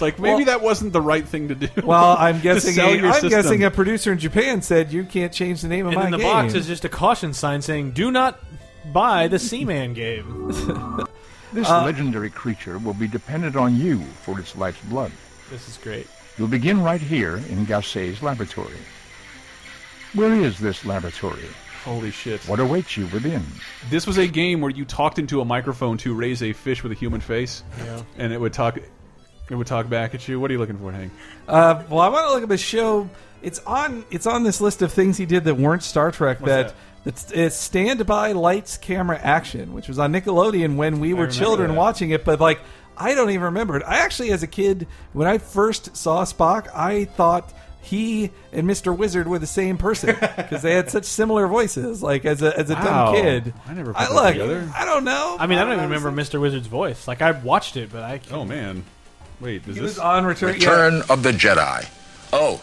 Like maybe Well- that wasn't the right thing to do. Well, I'm [LAUGHS] To guessing. sell A, your I'm system. guessing a producer in Japan said you can't change the name of and my then the game. box is just a caution sign saying "Do not buy the Seaman game." [LAUGHS] This Uh, legendary creature will be dependent on you for its life's blood. This is great. You'll begin right here in Gasset's laboratory. Where is this laboratory? Holy shit. What awaits you within? This was a game where you talked into a microphone to raise a fish with a human face. Yeah. And it would talk it would talk back at you. What are you looking for, Hank? Uh, well, I want to look up his show. It's on. It's on this list of things he did that weren't Star Trek. that that's it's Stand By Lights Camera Action, which was on Nickelodeon when we were children watching it. But like, I don't even remember it. I actually, as a kid, when I first saw Spock, I thought he and Mr. Wizard were the same person because they had such similar voices. Like as a as a Wow. dumb kid, I never put I that look. together. I don't know. I mean, I don't even remember Mr. Wizard's voice. Like I watched it, but I Oh man. Wait, is He this was on Return. yeah. Return of the Jedi. Oh,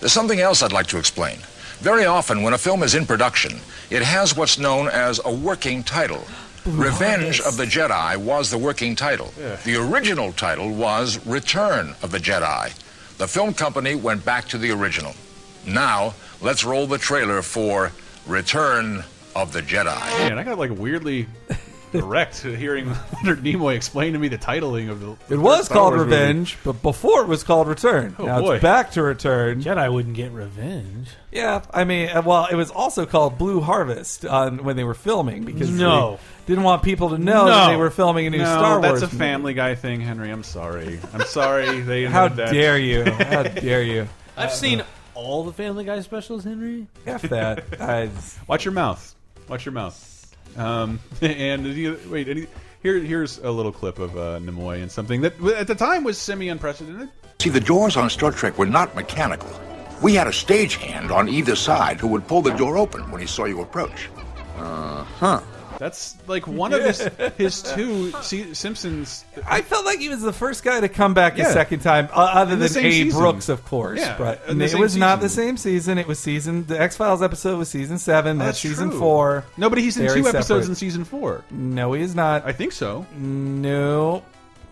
there's something else I'd like to explain. Very often, when a film is in production, it has what's known as a working title. Revenge of the Jedi was the working title. The original title was Return of the Jedi. The film company went back to the original. Now, let's roll the trailer for Return of the Jedi. man, I got like [LAUGHS] weirdly wrecked hearing Leonard Nimoy explain to me the titling of the It was Star called Wars movie. Revenge, but before it was called Return. Oh, now boy. it's back to Return. Jedi wouldn't get revenge. Yeah, I mean, uh, well, it was also called Blue Harvest on, when they were filming because No. they didn't want people to No. know that they were filming a new No, Star Wars. that's a Family Guy thing, Henry. I'm sorry. I'm [LAUGHS] sorry. They How did that. [LAUGHS] dare you? How dare you? I've seen all the Family Guy specials, Henry. F that. I, Watch your mouth. Watch your mouth. Um, [LAUGHS] and did you- wait, any, here, here's a little clip of uh, Nimoy and something that at the time was semi-unprecedented. See, the doors on Star Trek were not mechanical. We had a stagehand on either side who would pull the door open when he saw you approach. Uh-huh. That's like one of [LAUGHS] his his two se Simpsons. uh, I felt like he was the first guy to come back Yeah. a second time, uh, other In the than same A. season. Brooks, of course. Yeah, but in the it same was season. Oh, not the same season. It was season. The X Files episode was season seven. That's, season true. four. No, but he's in Very two episodes separate. in season four. No, he is not. I think so. no,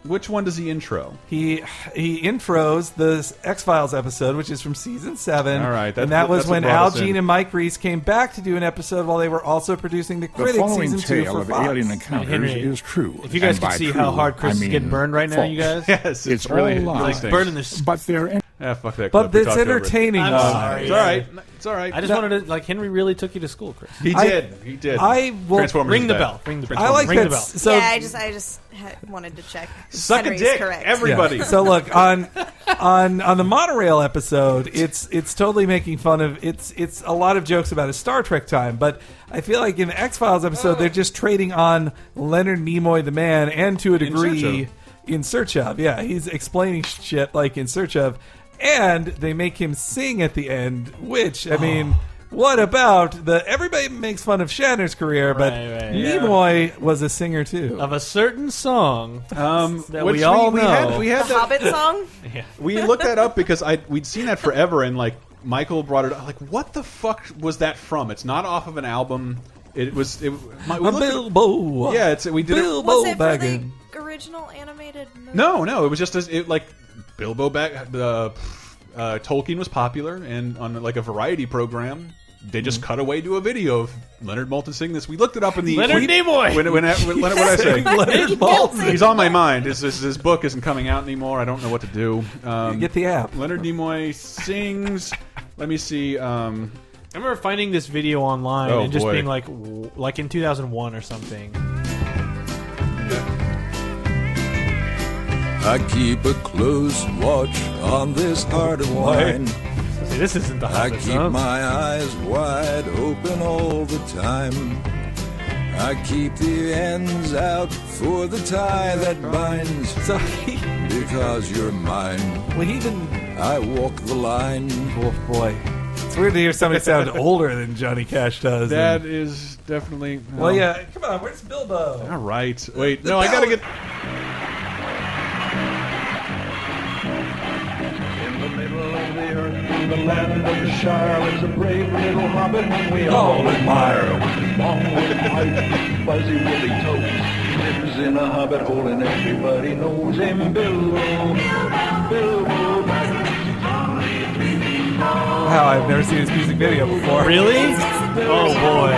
Which one does he intro? He he intros the X Files episode, which is from season seven. All right, that- and that was that's what when brought Al us in. Jean and Mike Reese came back to do an episode while they were also producing the The Critics following season two tale for of Fox. alien encounters Henry, is true. If you guys and can by see true, how hard I Chris mean is getting burned right now, you false. guys. Yes, it's, It's really all really lies. stinks. Burning this. But their Ah, fuck that. But clip. We it's talked over it. entertaining. I'm though. sorry. It's all right. It's all right. I just wanted to like Henry really took you to school, Chris. he I- did. he did. I will- Transformers Ring is the bad. bell. Ring the bell. I like Ring that. the bell. So yeah, I just I just ha- wanted to check. Suck Henry's a dick, Correct. yeah. everybody. So look on on on the monorail episode, it's it's totally making fun of it's it's a lot of jokes about his Star Trek time, but I feel like in the X Files episode they're just trading on Leonard Nimoy the man, and to a degree Search in search of. Yeah, he's explaining shit like in search of, and they make him sing at the end, which I mean. Oh. What about the? Everybody makes fun of Shatner's career, but Right, right, yeah. Nimoy was a singer too. Of a certain song. Um, That which we all we know. Had, we had The that- [LAUGHS] Hobbit song. we looked that up because I we'd seen that forever, and like Michael brought it up. Like, what the fuck was that from? It's not off of an album. It was. It, my, we A looked at- Bilbo. Yeah, it's- we did it- Bilbo Was it for Baggins. the original animated movie? [LAUGHS] no, no, it was just as it like Bilbo back. The uh, Tolkien was popular, and on like a variety program. They just cut away to a video of Leonard Moulton singing this. We looked it up in the Leonard Nimoy! When, when, when, Leonard, what I say? Leonard Maltin. He's on my mind. His, his, his book isn't coming out anymore. I don't know what to do. Um, Get the app. Leonard Nimoy sings. Let me see. Um, I remember finding this video online Oh, and just boy. being like, w- like in 2001 or something. I keep a close watch on this heart of mine. See, this isn't the I Hobbit keep song. my eyes wide open all the time. I keep the ends out for the tie that binds. So he, Because you're mine, well, he didn't. I walk the line. Oh boy, it's weird to hear somebody sound older than Johnny Cash does. that And- is definitely. Hmm. well, yeah. Come on, where's Bilbo? All right. Wait. No, I gotta get. We all admire Wow, I've never seen this music video before. Really? Oh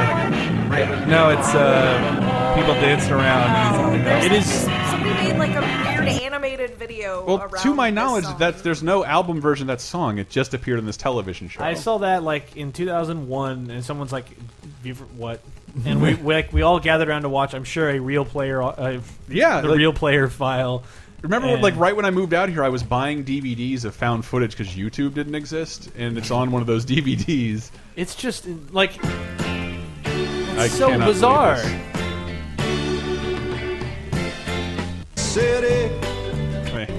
No, it's uh, people dancing around. and he's There's- like, It is- Somebody made like a weird animated video. Well, around to my this knowledge, song. that's there's no album version of that song. It just appeared in this television show. boy! I saw that like in 2001, and someone's like, Beaver, what? And we, we like we all gathered around to watch. I'm sure a real player. Uh, Yeah, the like- real player file. Remember, And- like right when I moved out here, I was buying DVDs of found footage because YouTube didn't exist, and it's on one of those [LAUGHS] DVDs. It's just like I it's so cannot bizarre. believe City,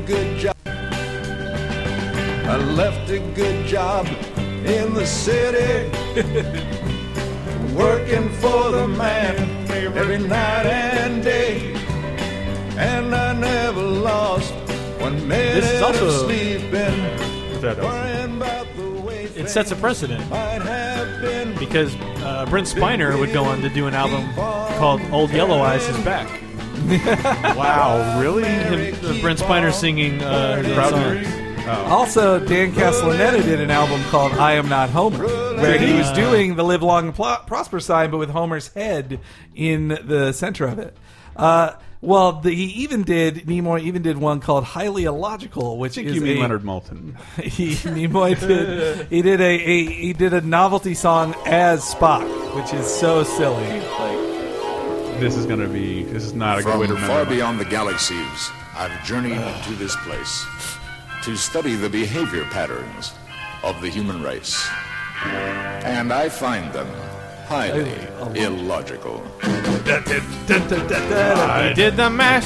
good job. I left a good job in the city, working for the man every night and day. And I never lost one minute This is also- of sleeping. Worrying about the way It sets a precedent might have been. because uh, Brent Spiner would go on to do an album called "Old Yellow Eyes Is Back." uh, wow, really? Brent Spiner singing uh, the song. Also, Dan Castellaneta did an album called "I Am Not Homer," where he was doing the "Live Long and Pl- Prosper" sign, but with Homer's head in the center of it. Uh, well, the, he even did Nimoy even did one called "Highly Illogical," which I think is you mean a- Leonard Moulton. [LAUGHS] he Nimoy did he did a, a he did a novelty song as Spock, which is so silly. Like This is going to be. This is not a good From way to remember. far my- beyond the galaxies, I've journeyed to this place to study the behavior patterns of the human race. And I find them highly illogical. I did the mash.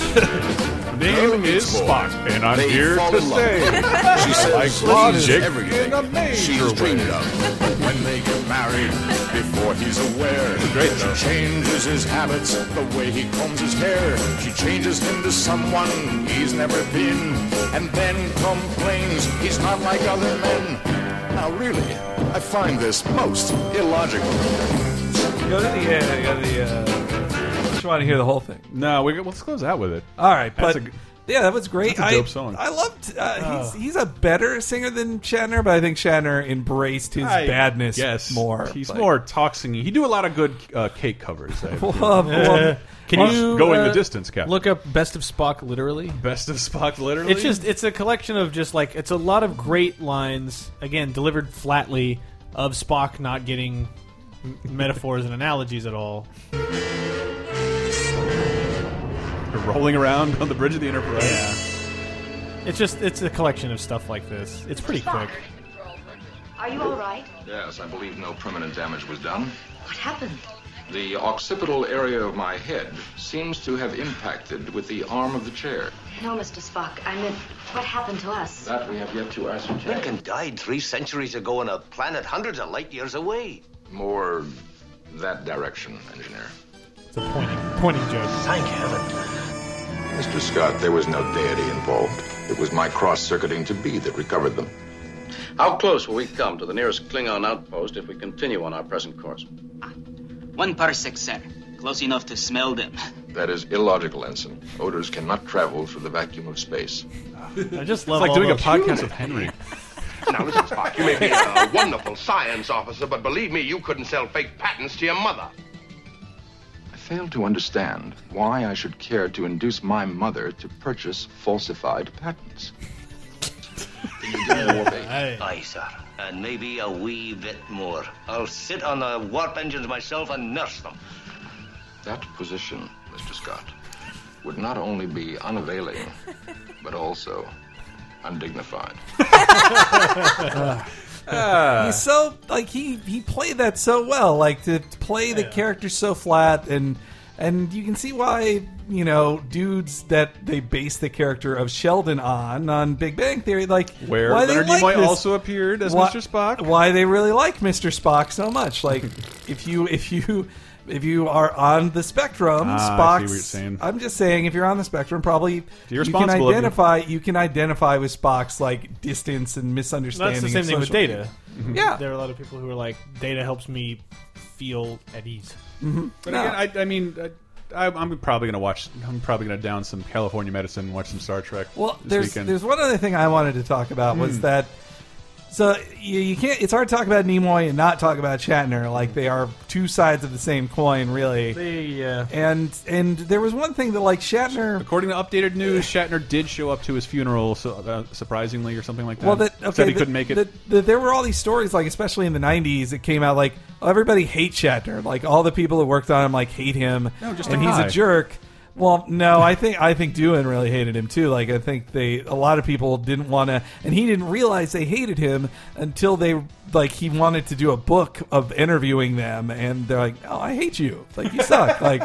Name is Spock, and I'm They here fall to in love. say She says Like this is logic everything in a major she's way. dreamed of when they get married before he's aware. great, she though. changes his habits, the way he combs his hair. She changes him to someone he's never been, and then complains he's not like other men. Now, really, I find this most illogical. go to the uh, go to the. Uh, I just want to hear the whole thing. no, we, let's close out with it. Uh, All right, That's but a g- yeah, that was great. that's a dope I, song. I loved. Uh, he's he's a better singer than Shatner, but I think Shatner embraced his I badness guess more. He's Like, [LAUGHS] more talk singing. He do a lot of good uh, cake covers. [LAUGHS] I Well, well, Can Well, you going the uh, distance, Captain? Look up "Best of Spock" literally. best of Spock, literally. It's just it's a collection of just like it's a lot of great lines again delivered flatly of Spock not getting m- metaphors and analogies at all. rolling around on the bridge of the Enterprise. It's just it's a collection of stuff like this. It's pretty quick. Are you all right? Yes, I believe no permanent damage was done. What happened? The occipital area of my head seems to have impacted with the arm of the chair. No, Mr. Spock. I meant, what happened to us? That we have yet to ascertain. Lincoln died three centuries ago on a planet hundreds of light years away. More that direction, engineer. It's a pointing pointing joke. Thank heaven. Mr. Scott, there was no deity involved. It was my cross circuiting to be that recovered them. How close will we come to the nearest Klingon outpost if we continue on our present course? Ah, One parsec, sir. Close enough to smell them. [LAUGHS] That is illogical, Ensign. Odors cannot travel through the vacuum of [LAUGHS] space. I just It's love like all doing a those- podcast [LAUGHS] with Henry. Now listen, Spock. You may be a wonderful science officer, but believe me, you couldn't sell fake patents to your mother. I fail to understand why I should care to induce my mother to purchase falsified patents. Aye. sir. And maybe a wee bit more. I'll sit on the warp engines myself and nurse them. That position, Mr. Scott, would not only be unavailing, but also undignified. he's so like he he played that so well. Like to play the character so flat and. And you can see why you know dudes that they base the character of Sheldon on on Big Bang Theory, like Where why Leonard they Nimoy like this. also appeared as Why- Mr. Spock. Why they really like Mr. Spock so [LAUGHS] much? Like if you if you if you are on the spectrum, Ah, I see Spock's. what you're saying. I'm just saying if you're on the spectrum, probably You're you can responsible of you. identify. You. can identify with Spock's like distance and misunderstanding. That's the same of thing with social- Data. Mm-hmm. Yeah. there are a lot of people who are like, Data helps me feel at ease. But again, I, I mean, I, I'm probably going to watch. I'm probably going to down some California Medicine and watch some Star Trek. Well, this there's weekend. there's one other thing I wanted to talk about was Hmm. that So you, you can't. It's hard to talk about Nimoy and not talk about Shatner. Like they are two sides of the same coin, really. uh, yeah. And and there was one thing that like Shatner. According to updated news, Shatner did show up to his funeral, so, uh, surprisingly, or something like that. Well, that okay. said he that- couldn't make it. that- that there were all these stories, like especially in the '90s, it came out like oh, everybody hates Shatner. Like all the people that worked on him, like hate him. No, just and a he's guy. a jerk. Well, no, I think I think Doohan really hated him too. Like I think they a lot of people didn't want to, and he didn't realize they hated him until they like he wanted to do a book of interviewing them, and they're like, "Oh, I hate you. Like you [LAUGHS] suck." like,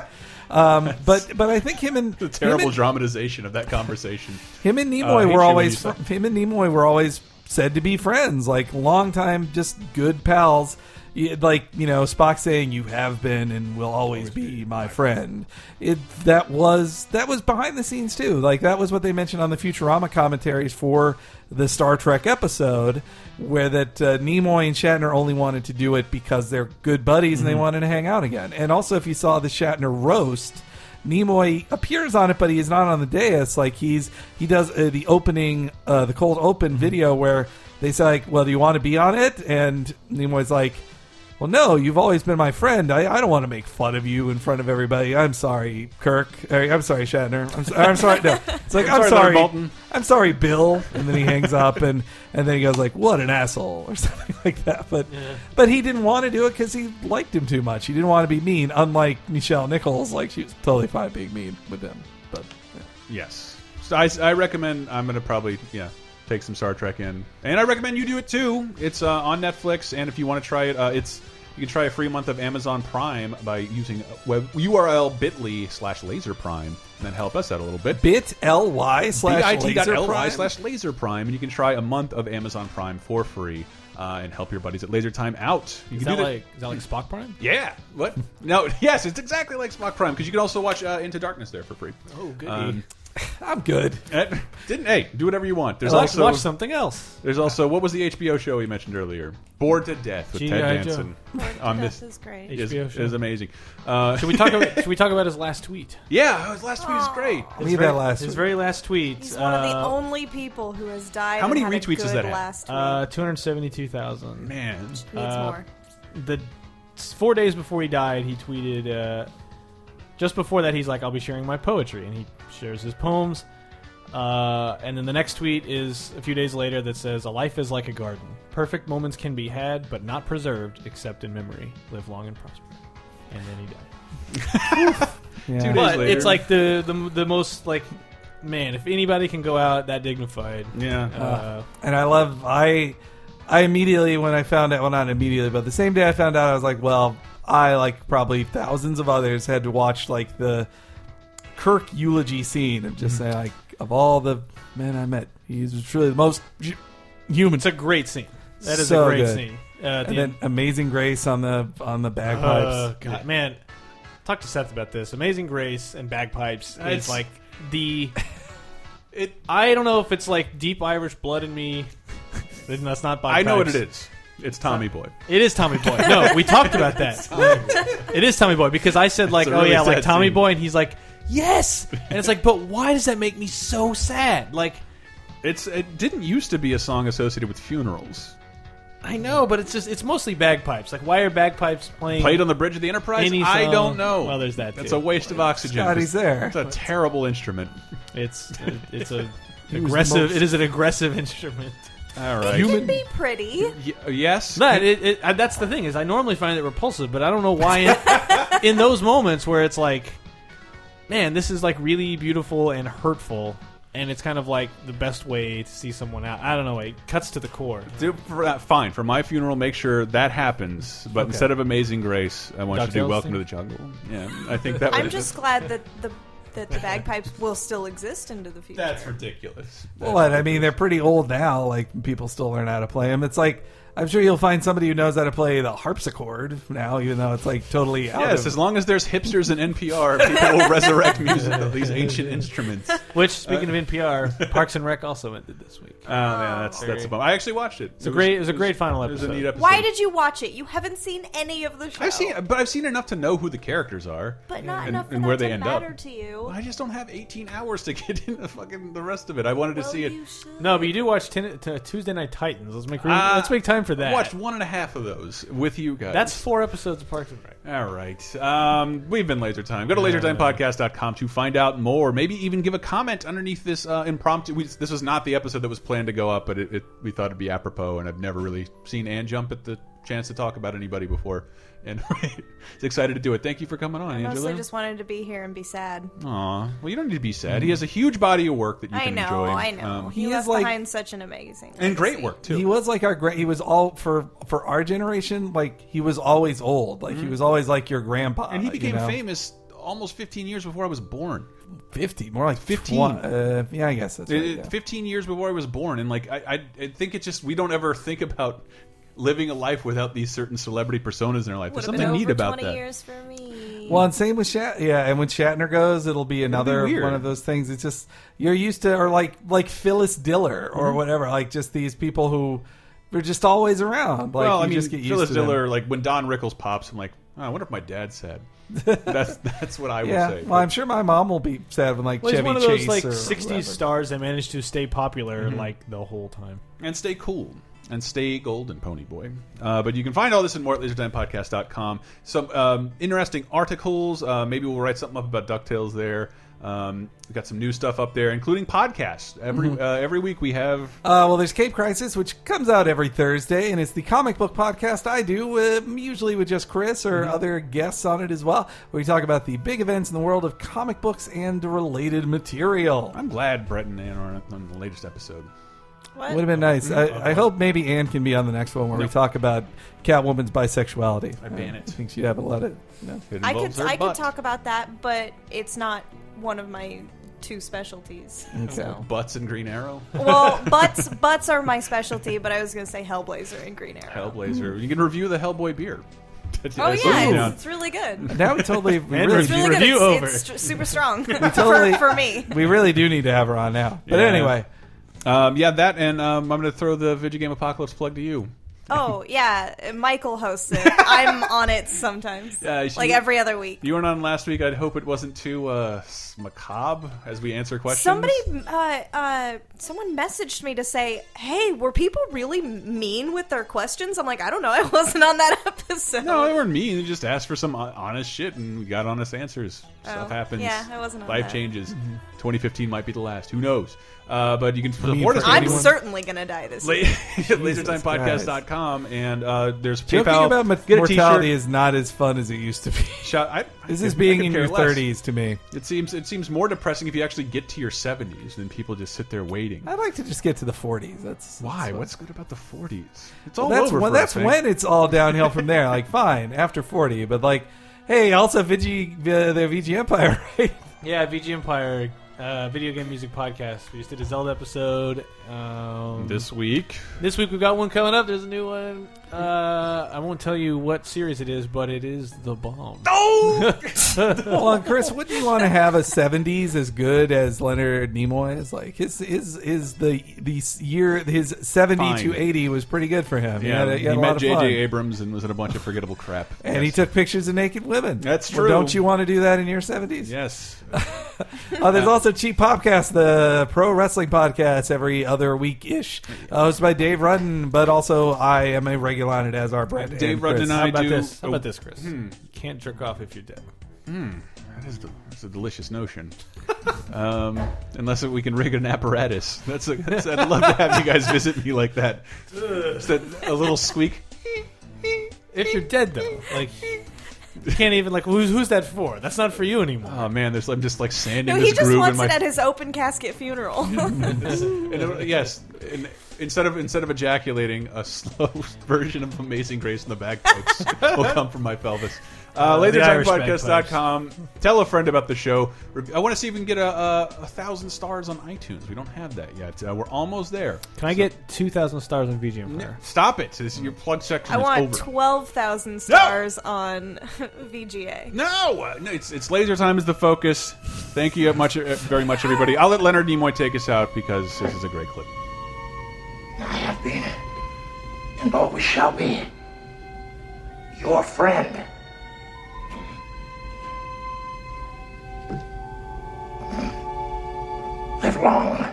um, but but I think him and the terrible dramatization of that conversation. him and Uh, I hate Nimoy you when were you always suck. fr- him and Nimoy were always said to be friends, like long time, just good pals. Y- Like you know, Spock saying, "You have been and will always, be, my friend." It that was that was behind the scenes too. Like that was what they mentioned on the Futurama commentaries for the Star Trek episode, where that uh, Nimoy and Shatner only wanted to do it because they're good buddies and Mhm. Mm-hmm. they wanted to hang out again. And also, if you saw the Shatner roast, Nimoy appears on it, but he is not on the dais. Like he's he does uh, the opening, uh, the cold Mm-hmm. open video where they say like, "Well, do you want to be on it?" And Nimoy's like, "Well, no. You've always been my friend. I, I don't want to make fun of you in front of everybody. I'm sorry, Kirk. Or, I'm sorry, Shatner. I'm, so, I'm sorry. [LAUGHS] No, it's like I'm I'm, sorry, Leonard sorry, Bolton. I'm sorry, Bill." And then he hangs up, and and then he goes like, "What an asshole," or [LAUGHS] something like that. But but he didn't want to do it because he liked him too much. He didn't want to be mean. Unlike Michelle Nichols, like she was totally fine being mean with him. But Yes. So I, I recommend. I'm going to probably yeah take some Star Trek in, and I recommend you do it too. It's uh, on Netflix, and if you want to try it, uh, it's you can try a free month of Amazon Prime by using uh, web URL bit.ly slash laser prime, and then help us out a little bit. Bit.ly slash bit.ly laser slash laser prime, and you can try a month of Amazon Prime for free. Uh, and help your buddies at Laser Time out. You Is can that do like is that like Spock Prime? yeah. What? No. [LAUGHS] Yes, it's exactly like Spock Prime because you can also watch uh, Into Darkness there for free. Um, Oh, goody. I'm good. Didn't hey? Do whatever you want. There's Eh, Watch- also watch something else. There's also what was the HBO show we mentioned earlier? Bored to Death with G.I. Ted Joe. Danson. Bored to on Death this is great. Is, HBO show. is amazing. Uh, should we talk? About, should we talk about his last tweet? Yeah, oh, his last tweet is great. His Leave very- that last His tweet. very last tweet. He's one of the uh, only people who has died. How many and had a retweets does good that have? Last tweet. Uh, two hundred seventy-two thousand. Man, needs more. The four days before he died, he tweeted. Uh, just before that, he's like, "I'll be sharing my poetry," and he shares his poems. Uh, and then the next tweet is a few days later that says, "A life is like a garden. Perfect moments can be had, but not preserved, except in memory. Live long and prosper." And then he died. Yeah. Two days but later. it's like the, the the most like man. If anybody can go out that dignified, yeah. Uh, and I love I I immediately when I found out well not immediately but the same day I found out I was like well I like probably thousands of others had to watch like the Kirk eulogy scene of just Mm-hmm. saying like of all the men I met he's truly the most hu- human it's a great scene. That is So a great good. scene. Uh, at the and then Amazing Grace on the on the bagpipes Oh God, man, talk to Seth about this. Amazing Grace and bagpipes It's- is like [LAUGHS] the. It. I don't know if it's like deep Irish blood in me. Then That's not I bagpipes. know what it is. It's Tommy Boy. It is Tommy Boy. No, we talked about [LAUGHS] that. it is Tommy Boy because I said like, a oh really yeah, like sad Tommy scene. Boy, and he's like, yes, and it's like, but why does that make me so sad? Like, It's it didn't used to be a song associated with funerals. I know, but it's just it's mostly bagpipes. Like, why are bagpipes playing Played on the bridge of the Enterprise. Any I song- don't know. Well, there's that. That's too. a waste of oxygen. Scott, he's there. It's a terrible instrument. It's [LAUGHS] it's a He was the aggressive. most- It is an aggressive [LAUGHS] instrument. All It right. can be pretty. yes. But it, it, I, that's the thing is I normally find it repulsive, but I don't know why [LAUGHS] in, in those moments where it's like, man, this is like really beautiful and hurtful, and it's kind of like the best way to see someone out. I don't know. It cuts to the core. Do, for, uh, fine for my funeral. Make sure that happens. But Okay. instead of Amazing Grace, I want you to do DuckTales Welcome thing? to the Jungle. Yeah, I think that. [LAUGHS] I'm was [LAUGHS] just glad that the that the bagpipes will still exist into the future. That's ridiculous. Well, I mean, they're pretty old now. Like people still learn how to play them. It's like I I'm sure you'll find somebody who knows how to play the harpsichord now, even though it's like totally out. Yes, of- as long as there's hipsters in NPR, people will resurrect music of these ancient [LAUGHS] instruments. Oh, Which, speaking of [LAUGHS] NPR, Parks and Rec also ended this week. Oh, man, that's that's a bummer. I actually watched it. It's a great, Uh, it was a great final It was episode. a neat episode. Why did you watch it? You haven't seen any of the show. I've seen, but I've seen enough to know who the characters are, But not and, enough for and that where to they end matter up. to you. I just don't have 18 hours to [LAUGHS] get into fucking the rest of it. I wanted to see it. No, but you do watch ten, t- Tuesday Night Titans. Let's make Uh, let's make time for that. I watched one and a half of those with you guys. That's four episodes of Parks and Rec. All right. Um, we've been Laser Time. Go to lasertimepodcast.com to find out more. Maybe even give a comment underneath this uh, impromptu. We, this was not the episode that was planned to go up, but it, it, we thought it'd be apropos, and I've never really seen Ann jump at the chance to talk about anybody before. And [LAUGHS] it's excited to do it. Thank you for coming on, I mostly Angela. just wanted to be here and be sad. Aw. Well, you don't need to be sad. He has a huge body of work that you I can know, enjoy. I know. Um, he He is left like- behind such an amazing. work too. He was like our gra- he was all for for our generation. Like he was always old. Like he Mhm. was always like your grandpa. and he became uh, you know? famous almost 15 years before I was born. Fifty, more like 15. twen- uh, yeah, I guess that's right. It- it- yeah. 15 years before I was born. And like, I, I, I think it's just, we don't ever think about living a life without these certain celebrity personas in our life. There's Would've been something neat over about 20 that. years for me. Well, and same with Shat. Yeah, and when Shatner goes, it'll be another weird. one of those things. It's just you're used to, or like like Phyllis Diller or Mhm. whatever. Like just these people who are just always around. Like well, you I mean, just get used Phyllis to them. Diller, like when Don Rickles pops, I'm like, oh, I wonder if my dad's [LAUGHS] sad. that's that's what I yeah. would say. Well, I'm sure my mom will be sad when like Well, he's Chevy one of those Chase like or Mm-hmm. '60s stars that managed to stay popular Mhm. like the whole time. and stay cool and stay golden pony boy uh, but you can find all this and more at lasertimepodcast.com some um, interesting articles uh, maybe we'll write something up about ducktales there um, we've got some new stuff up there including podcasts every Mhm. uh, every week we have Uh, well, there's Cape Crisis, which comes out every Thursday, and it's the comic book podcast I do, uh, usually with just Chris or Mm-hmm. other guests on it as well. We talk about the big events in the world of comic books and related material. I'm glad Brett and Ann are on the latest episode. Would have been nice. Mhm. I, I hope maybe Anne can be on the next one where Nope. we talk about Catwoman's bisexuality. I ban [LAUGHS] it. I think she'd have a lot of. No. I could I could talk about that, but it's not one of my two [LAUGHS] specialties. Okay. Butts and Green [LAUGHS] Arrow. Well, butts butts are my specialty, but I was going to say Hellblazer and Green Arrow. Hellblazer. You can review the Hellboy beer. [LAUGHS] Oh yeah, it's, it's really good. Now we totally we And really it's really good. review It's, over. it's str- super strong [LAUGHS] we totally for, for me. [LAUGHS] We really do need to have her on now. But Yeah. anyway, Um, yeah, that and um, I'm going to throw the video game apocalypse plug to you. Oh yeah, Michael hosts [LAUGHS] it. I'm on it sometimes, Yeah, she- like every other week. You weren't on last week. I'd hope it wasn't too uh, s- macabre as we answer questions. Somebody, uh, uh, someone messaged me to say, "Hey, were people really mean with their questions?" I'm like, I don't know. [LAUGHS] I wasn't on that episode. No, they weren't mean. They just asked for some hon- honest shit, and we got honest answers. Stuff happens. Oh, yeah, I wasn't on Life that. changes. Mm-hmm. 2015 might be the last. Who knows? Uh, but you can support us. I'm certainly gonna die this La- [LAUGHS] week. LaserTimePodcast.com, and uh, there's PayPal. joking about mor- Get a mortality t-shirt. is not as fun as it used to be. Shout, I, I This could- [LAUGHS] is I being could in care your less. 30s to me. It seems it seems more depressing if you actually get to your 70s than people just sit there waiting. I'd like to just get to the 40s. That's Why? that's what- What's good about the 40s? It's Well, all that's over. When, for that's us, eh? when it's all downhill from there. Like, fine, after forty, but like, hey, also VG uh, the VG Empire, [LAUGHS] right? Yeah, VG Empire, uh, video game music podcast. We just did a Zelda episode. Um, This week. This week we've got one coming up. There's a new one. Uh, I won't tell you what series it is, but it is the bomb. [LAUGHS] Oh! well, and Chris, wouldn't you want to have a seventies as good as Leonard Nimoy? Is like his his is the the year his seventy to Fine. eighty was pretty good for Yeah, him. he, had a- he had he a met lot of J.J. fun. Abrams and was in a bunch of forgettable crap. And he took pictures of naked women. That's Well, true. don't you want to do that in your seventies? Yes. [LAUGHS] Uh, there's also Cheap Popcast, the pro wrestling podcast, every other week ish, uh, hosted by Dave Rudden, but also I am a regular on it as our Brett. Dave Rudden Chris. and I How about do. this? How oh, about this, Chris? hmm. You [LAUGHS] can't jerk off if you're dead. Hmm. That is del- that's a delicious notion. um, unless we can rig an apparatus. That's a, that's, I'd love to have you guys visit me like that. Just that a little squeak. [LAUGHS] If you're dead, though, like you can't even like who's who's that for? That's not for you anymore. Oh man, there's I'm just like sanding No, he this just groove in wants my. it at his open [LAUGHS] casket funeral. And it- yes, and instead of instead of [LAUGHS] ejaculating, a slow version of Amazing Grace in the bag pokes will come from my pelvis. Uh, Uh, LaserTimePodcast.com. Tell a friend about the show. Re- I want to see if we can get a, a, a thousand stars on iTunes. We don't have that yet. Uh, we're almost there. Can I get two thousand stars on VGM? Player? Stop it! This, your plug section [LAUGHS] I is want over. twelve thousand stars on [LAUGHS] VGA. No, uh, no, it's it's laser time is the focus. Thank you much, uh, very much, everybody. I'll let Leonard Nimoy take us out because this is a great clip. have been and always shall be your friend. Live long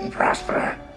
and prosper.